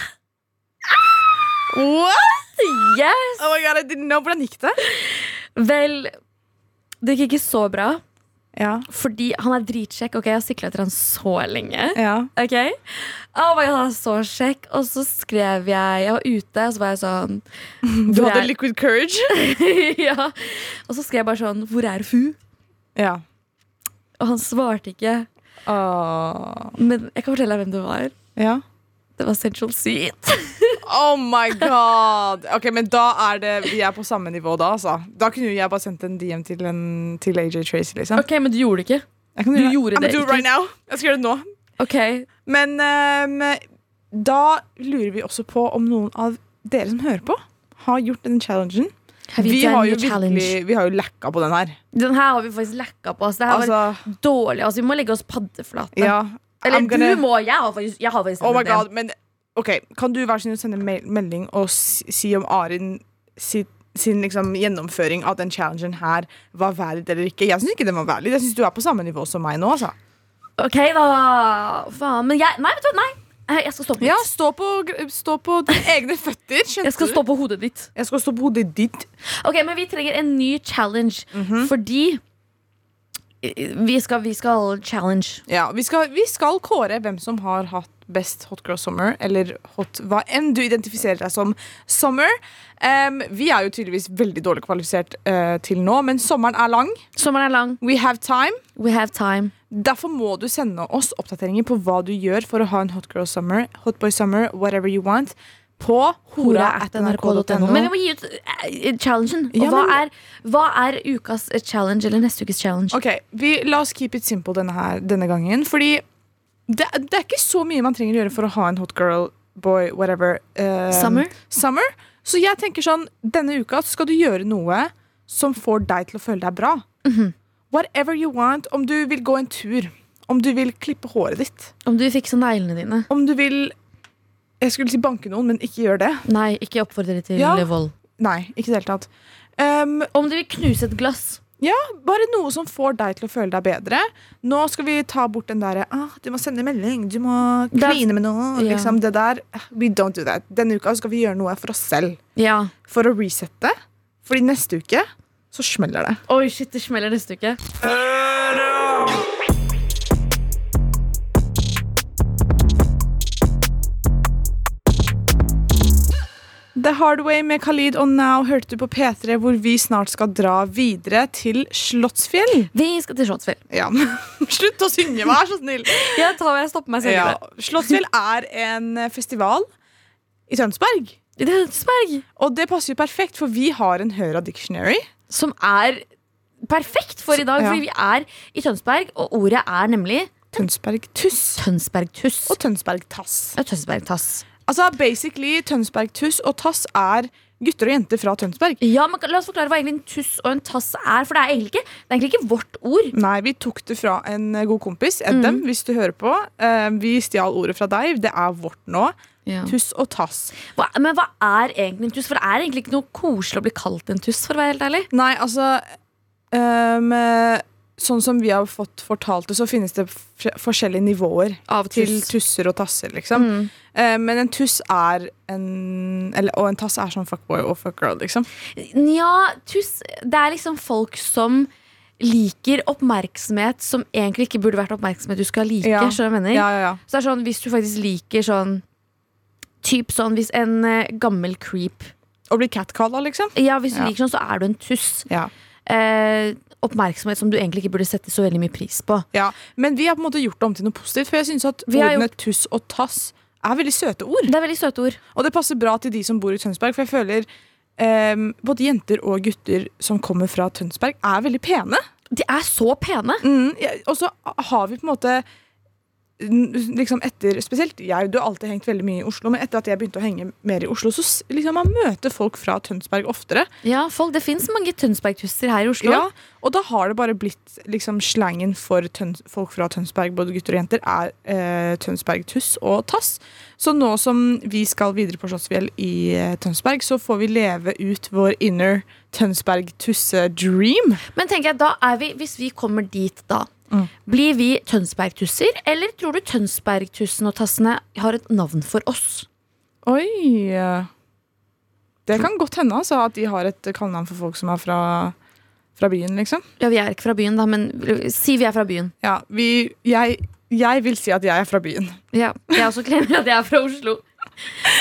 Speaker 3: What?
Speaker 2: Yes!
Speaker 3: Oh my god, I didn't know. Hvordan gikk det?
Speaker 2: Vel, det gikk ikke så bra,
Speaker 3: Ja.
Speaker 2: fordi han er dritsjekk. Ok, Jeg har sikla etter han så lenge.
Speaker 3: ja.
Speaker 2: Ok? Oh my god, han er så sjekk. Og så skrev jeg Jeg var ute, og så var jeg sånn
Speaker 3: Du
Speaker 2: hvor
Speaker 3: hadde
Speaker 2: er-
Speaker 3: liquid courage.
Speaker 2: ja. Og så skrev jeg bare sånn Hvor er fu?
Speaker 3: Ja.
Speaker 2: Og han svarte ikke. Men jeg kan fortelle deg hvem det var.
Speaker 3: ja.
Speaker 2: Det var Central Seat.
Speaker 3: Oh my god! Ok, men da er det Vi er på samme nivå da, altså. Da kunne jo jeg bare sendt en DM til, en, til AJ Tracy, liksom.
Speaker 2: Ok, men du gjorde det ikke.
Speaker 3: Jeg kan
Speaker 2: Du
Speaker 3: gjøre-
Speaker 2: gjorde
Speaker 3: I'm
Speaker 2: det
Speaker 3: gonna do it
Speaker 2: ikke.
Speaker 3: right now. Jeg skal gjøre det nå.
Speaker 2: Ok,
Speaker 3: Men ehm, da lurer vi også på om noen av dere som hører på, har gjort denne challengen.
Speaker 2: Have you
Speaker 3: vi,
Speaker 2: done
Speaker 3: har jo
Speaker 2: your challenge?
Speaker 3: virkelig, vi har jo lacka på den her.
Speaker 2: Den her har vi faktisk lekka på. Altså, det her
Speaker 3: Altså,
Speaker 2: var dårlig. Altså, vi må legge oss paddeflate.
Speaker 3: ja.
Speaker 2: Eller
Speaker 3: I'm gonna-
Speaker 2: du må. Jeg har faktisk, jeg har faktisk
Speaker 3: Oh my
Speaker 2: sendt en.
Speaker 3: god, men ok, Kan du være så snill å sende en mel- melding og si, si om Arin si, sin liksom, gjennomføring av den challengen her var valid eller ikke? Jeg syns ikke den var valid. Jeg synes du er på samme nivå som meg nå. altså
Speaker 2: Ok, da. Faen. Men jeg Nei, vet du hva. Nei. Eh, Jeg skal stoppe litt.
Speaker 3: Ja, Stå på, gr- stå på dine egne føtter. skjønte
Speaker 2: Jeg skal
Speaker 3: du?
Speaker 2: stå på hodet ditt.
Speaker 3: jeg skal stå på hodet ditt.
Speaker 2: Ok, men vi trenger en ny challenge.
Speaker 3: Mhm.
Speaker 2: Fordi eh, vi skal, vi skal challenge.
Speaker 3: Ja, vi skal, vi skal kåre hvem som har hatt best Hot Girl Summer, eller hot, hva enn du identifiserer deg som summer. Em, vi er jo tydeligvis veldig dårlig kvalifisert eh, til nå, men sommeren er lang.
Speaker 2: Sommeren er lang.
Speaker 3: We have time.
Speaker 2: We have time.
Speaker 3: Derfor må du sende oss oppdateringer på hot du gjør for å ha en Hot Girl Summer, Hot Boy Summer, whatever you want, på hora.nrk.no.
Speaker 2: Men vi må gi ut eh, challengen. Og
Speaker 3: Ja,
Speaker 2: hva,
Speaker 3: men-
Speaker 2: er, hva er ukas eh, challenge eller neste ukes challenge?
Speaker 3: Ok, vi, La oss keep it simple denne, her, denne gangen. Fordi det, det er ikke så mye man trenger å gjøre for å ha en hot girl, boy, whatever eh,
Speaker 2: Summer?
Speaker 3: summer. Så jeg tenker sånn, denne uka skal du gjøre noe som får deg til å føle deg bra.
Speaker 2: Mhm.
Speaker 3: Whatever you want. Om du vil gå en tur. Om du vil klippe håret ditt.
Speaker 2: Om du fikser neglene dine.
Speaker 3: Om du vil Jeg skulle si banke noen, men ikke gjør det.
Speaker 2: Nei, ikke oppfordre til
Speaker 3: Ja.
Speaker 2: vold.
Speaker 3: Nei, ikke i det hele tatt. Um,
Speaker 2: Om du vil knuse et glass.
Speaker 3: Ja, bare noe som får deg til å føle deg bedre. Nå skal vi ta bort den derre ah, 'du må sende melding', 'du må
Speaker 2: Det er-
Speaker 3: kline med noen'.
Speaker 2: Ja.
Speaker 3: Liksom, det der, We don't do that. Denne uka skal vi gjøre noe for oss selv.
Speaker 2: Ja.
Speaker 3: For å resette. Fordi neste uke så smeller det.
Speaker 2: Oi, shit, det smeller neste uke.
Speaker 3: The Hard Way med Khalid og Now hørte du på P3, hvor vi snart skal dra videre til Slottsfjell.
Speaker 2: Vi skal til Slottsfjell.
Speaker 3: Ja, Slutt å synge, vær så snill!
Speaker 2: Jeg tar jeg stopper meg selv i
Speaker 3: Ja,
Speaker 2: det.
Speaker 3: Slottsfjell er en festival i Tønsberg.
Speaker 2: I Tønsberg,
Speaker 3: Og det passer jo perfekt, for vi har en Høra Dictionary.
Speaker 2: som er perfekt for i dag,
Speaker 3: Ja.
Speaker 2: fordi vi er i Tønsberg, og ordet er nemlig
Speaker 3: Tønsberg Tuss
Speaker 2: Tønsbergtuss.
Speaker 3: og Tønsberg Tass.
Speaker 2: Ja, Tønsbergtass.
Speaker 3: Altså basically Tønsberg Tuss og Tass er gutter og jenter fra Tønsberg.
Speaker 2: Ja, men la oss forklare hva egentlig en tuss og en tass er, for det er egentlig ikke, det er egentlig ikke vårt ord.
Speaker 3: Nei, vi tok det fra en eh, god kompis, Edem,
Speaker 2: Mm.
Speaker 3: hvis du hører på. Eh, Vi stjal ordet fra deg. Det er vårt nå. Tuss og Tass.
Speaker 2: Hva, men hva er egentlig en tuss? For det er egentlig ikke noe koselig å bli kalt en tuss, for å være helt ærlig.
Speaker 3: Nei, altså ehm, eh, Sånn som vi har fått fortalt det, så finnes det f- forskjellige nivåer
Speaker 2: Av
Speaker 3: til
Speaker 2: tuss. Mm.
Speaker 3: tusser og tasser, liksom. Eh, men en tuss er en eller, Og en tass er sånn fuckboy og fuckgirl, liksom.
Speaker 2: Nja, tuss Det er liksom folk som liker oppmerksomhet som egentlig ikke burde vært oppmerksomhet du skal like.
Speaker 3: Ja.
Speaker 2: skjønner du hva jeg mener?
Speaker 3: Ja, ja, ja.
Speaker 2: Så det er sånn, Hvis du faktisk liker sånn Typ sånn hvis en eh, gammel creep
Speaker 3: Å bli catcalla, liksom.
Speaker 2: Ja, hvis du
Speaker 3: Ja.
Speaker 2: liker sånn, så er du en tuss.
Speaker 3: Ja.
Speaker 2: Eh, oppmerksomhet som du egentlig ikke burde sette så veldig mye pris på.
Speaker 3: Ja, Men vi har på en måte gjort det om til noe positivt. For jeg synes at
Speaker 2: Vi har
Speaker 3: ordene tuss og tass er veldig søte ord.
Speaker 2: Det er veldig søte ord.
Speaker 3: Og det passer bra til de som bor i Tønsberg. For jeg føler ehm, både jenter og gutter som kommer fra Tønsberg, er veldig pene.
Speaker 2: De er så pene!
Speaker 3: Mm, ja, og så har vi på en måte n- Liksom etter, spesielt jeg, du har alltid hengt veldig mye i Oslo, men etter at jeg begynte å henge mer i Oslo, så s- liksom man møter folk fra Tønsberg oftere.
Speaker 2: Ja, folk, Det fins mange Tønsberg-tusser her i Oslo.
Speaker 3: Ja, og da har det bare blitt liksom slangen for tøns folk fra Tønsberg, både gutter og jenter, er eh, Tønsberg-tuss og tass. Så nå som vi skal videre på Slottsfjell i eh, Tønsberg, så får vi leve ut vår inner Tønsberg-tusse-dream.
Speaker 2: Men tenker jeg, da er vi, hvis vi kommer dit da,
Speaker 3: Mm.
Speaker 2: blir vi Tønsberg-tusser? Eller tror du Tønsberg-tussen og tassene har et navn for oss?
Speaker 3: Oi! Det kan godt hende altså, at de har et kallenavn for folk som er fra, fra byen, liksom.
Speaker 2: Ja, vi er ikke fra byen, da, men si vi er fra byen.
Speaker 3: Ja, vi, jeg, jeg vil si at jeg er fra byen.
Speaker 2: Ja, jeg også klemmer at jeg er fra Oslo.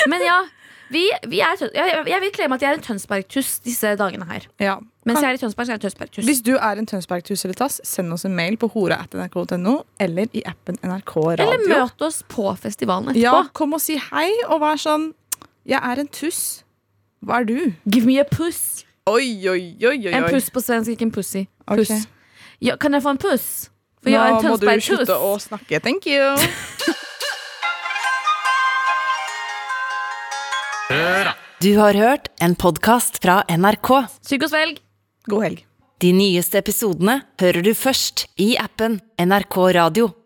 Speaker 2: Men ja, vi, vi er, Tøn- jeg, jeg vil klemme at jeg er en Tønsberg-tuss disse dagene her.
Speaker 3: Ja.
Speaker 2: Mens
Speaker 3: Kan-
Speaker 2: jeg er i Tønsberg, så er jeg en Tønsberg-tuss.
Speaker 3: Hvis du er en Tønsberg-tus eller tass, send oss en mail på hora.nrk.no eller i appen NRK
Speaker 2: Eller
Speaker 3: Radio.
Speaker 2: møt oss på festivalen etterpå.
Speaker 3: Ja, kom og si hei, og vær sånn Jeg er en tuss. Hva er du?
Speaker 2: Give me a puss.
Speaker 3: Oi, oi, oi, oi.
Speaker 2: En puss på svensk, ikke en pussy.
Speaker 3: Ok.
Speaker 2: Puss. Ja, kan jeg få en puss? For
Speaker 3: Nå
Speaker 2: jeg er en
Speaker 3: må du
Speaker 2: Tønsberg-tuss.
Speaker 3: slutte å snakke. Thank you.
Speaker 5: Du har hørt en podkast fra NRK.
Speaker 2: Sug og svelg.
Speaker 3: God helg.
Speaker 5: De nyeste episodene hører du først i appen NRK Radio.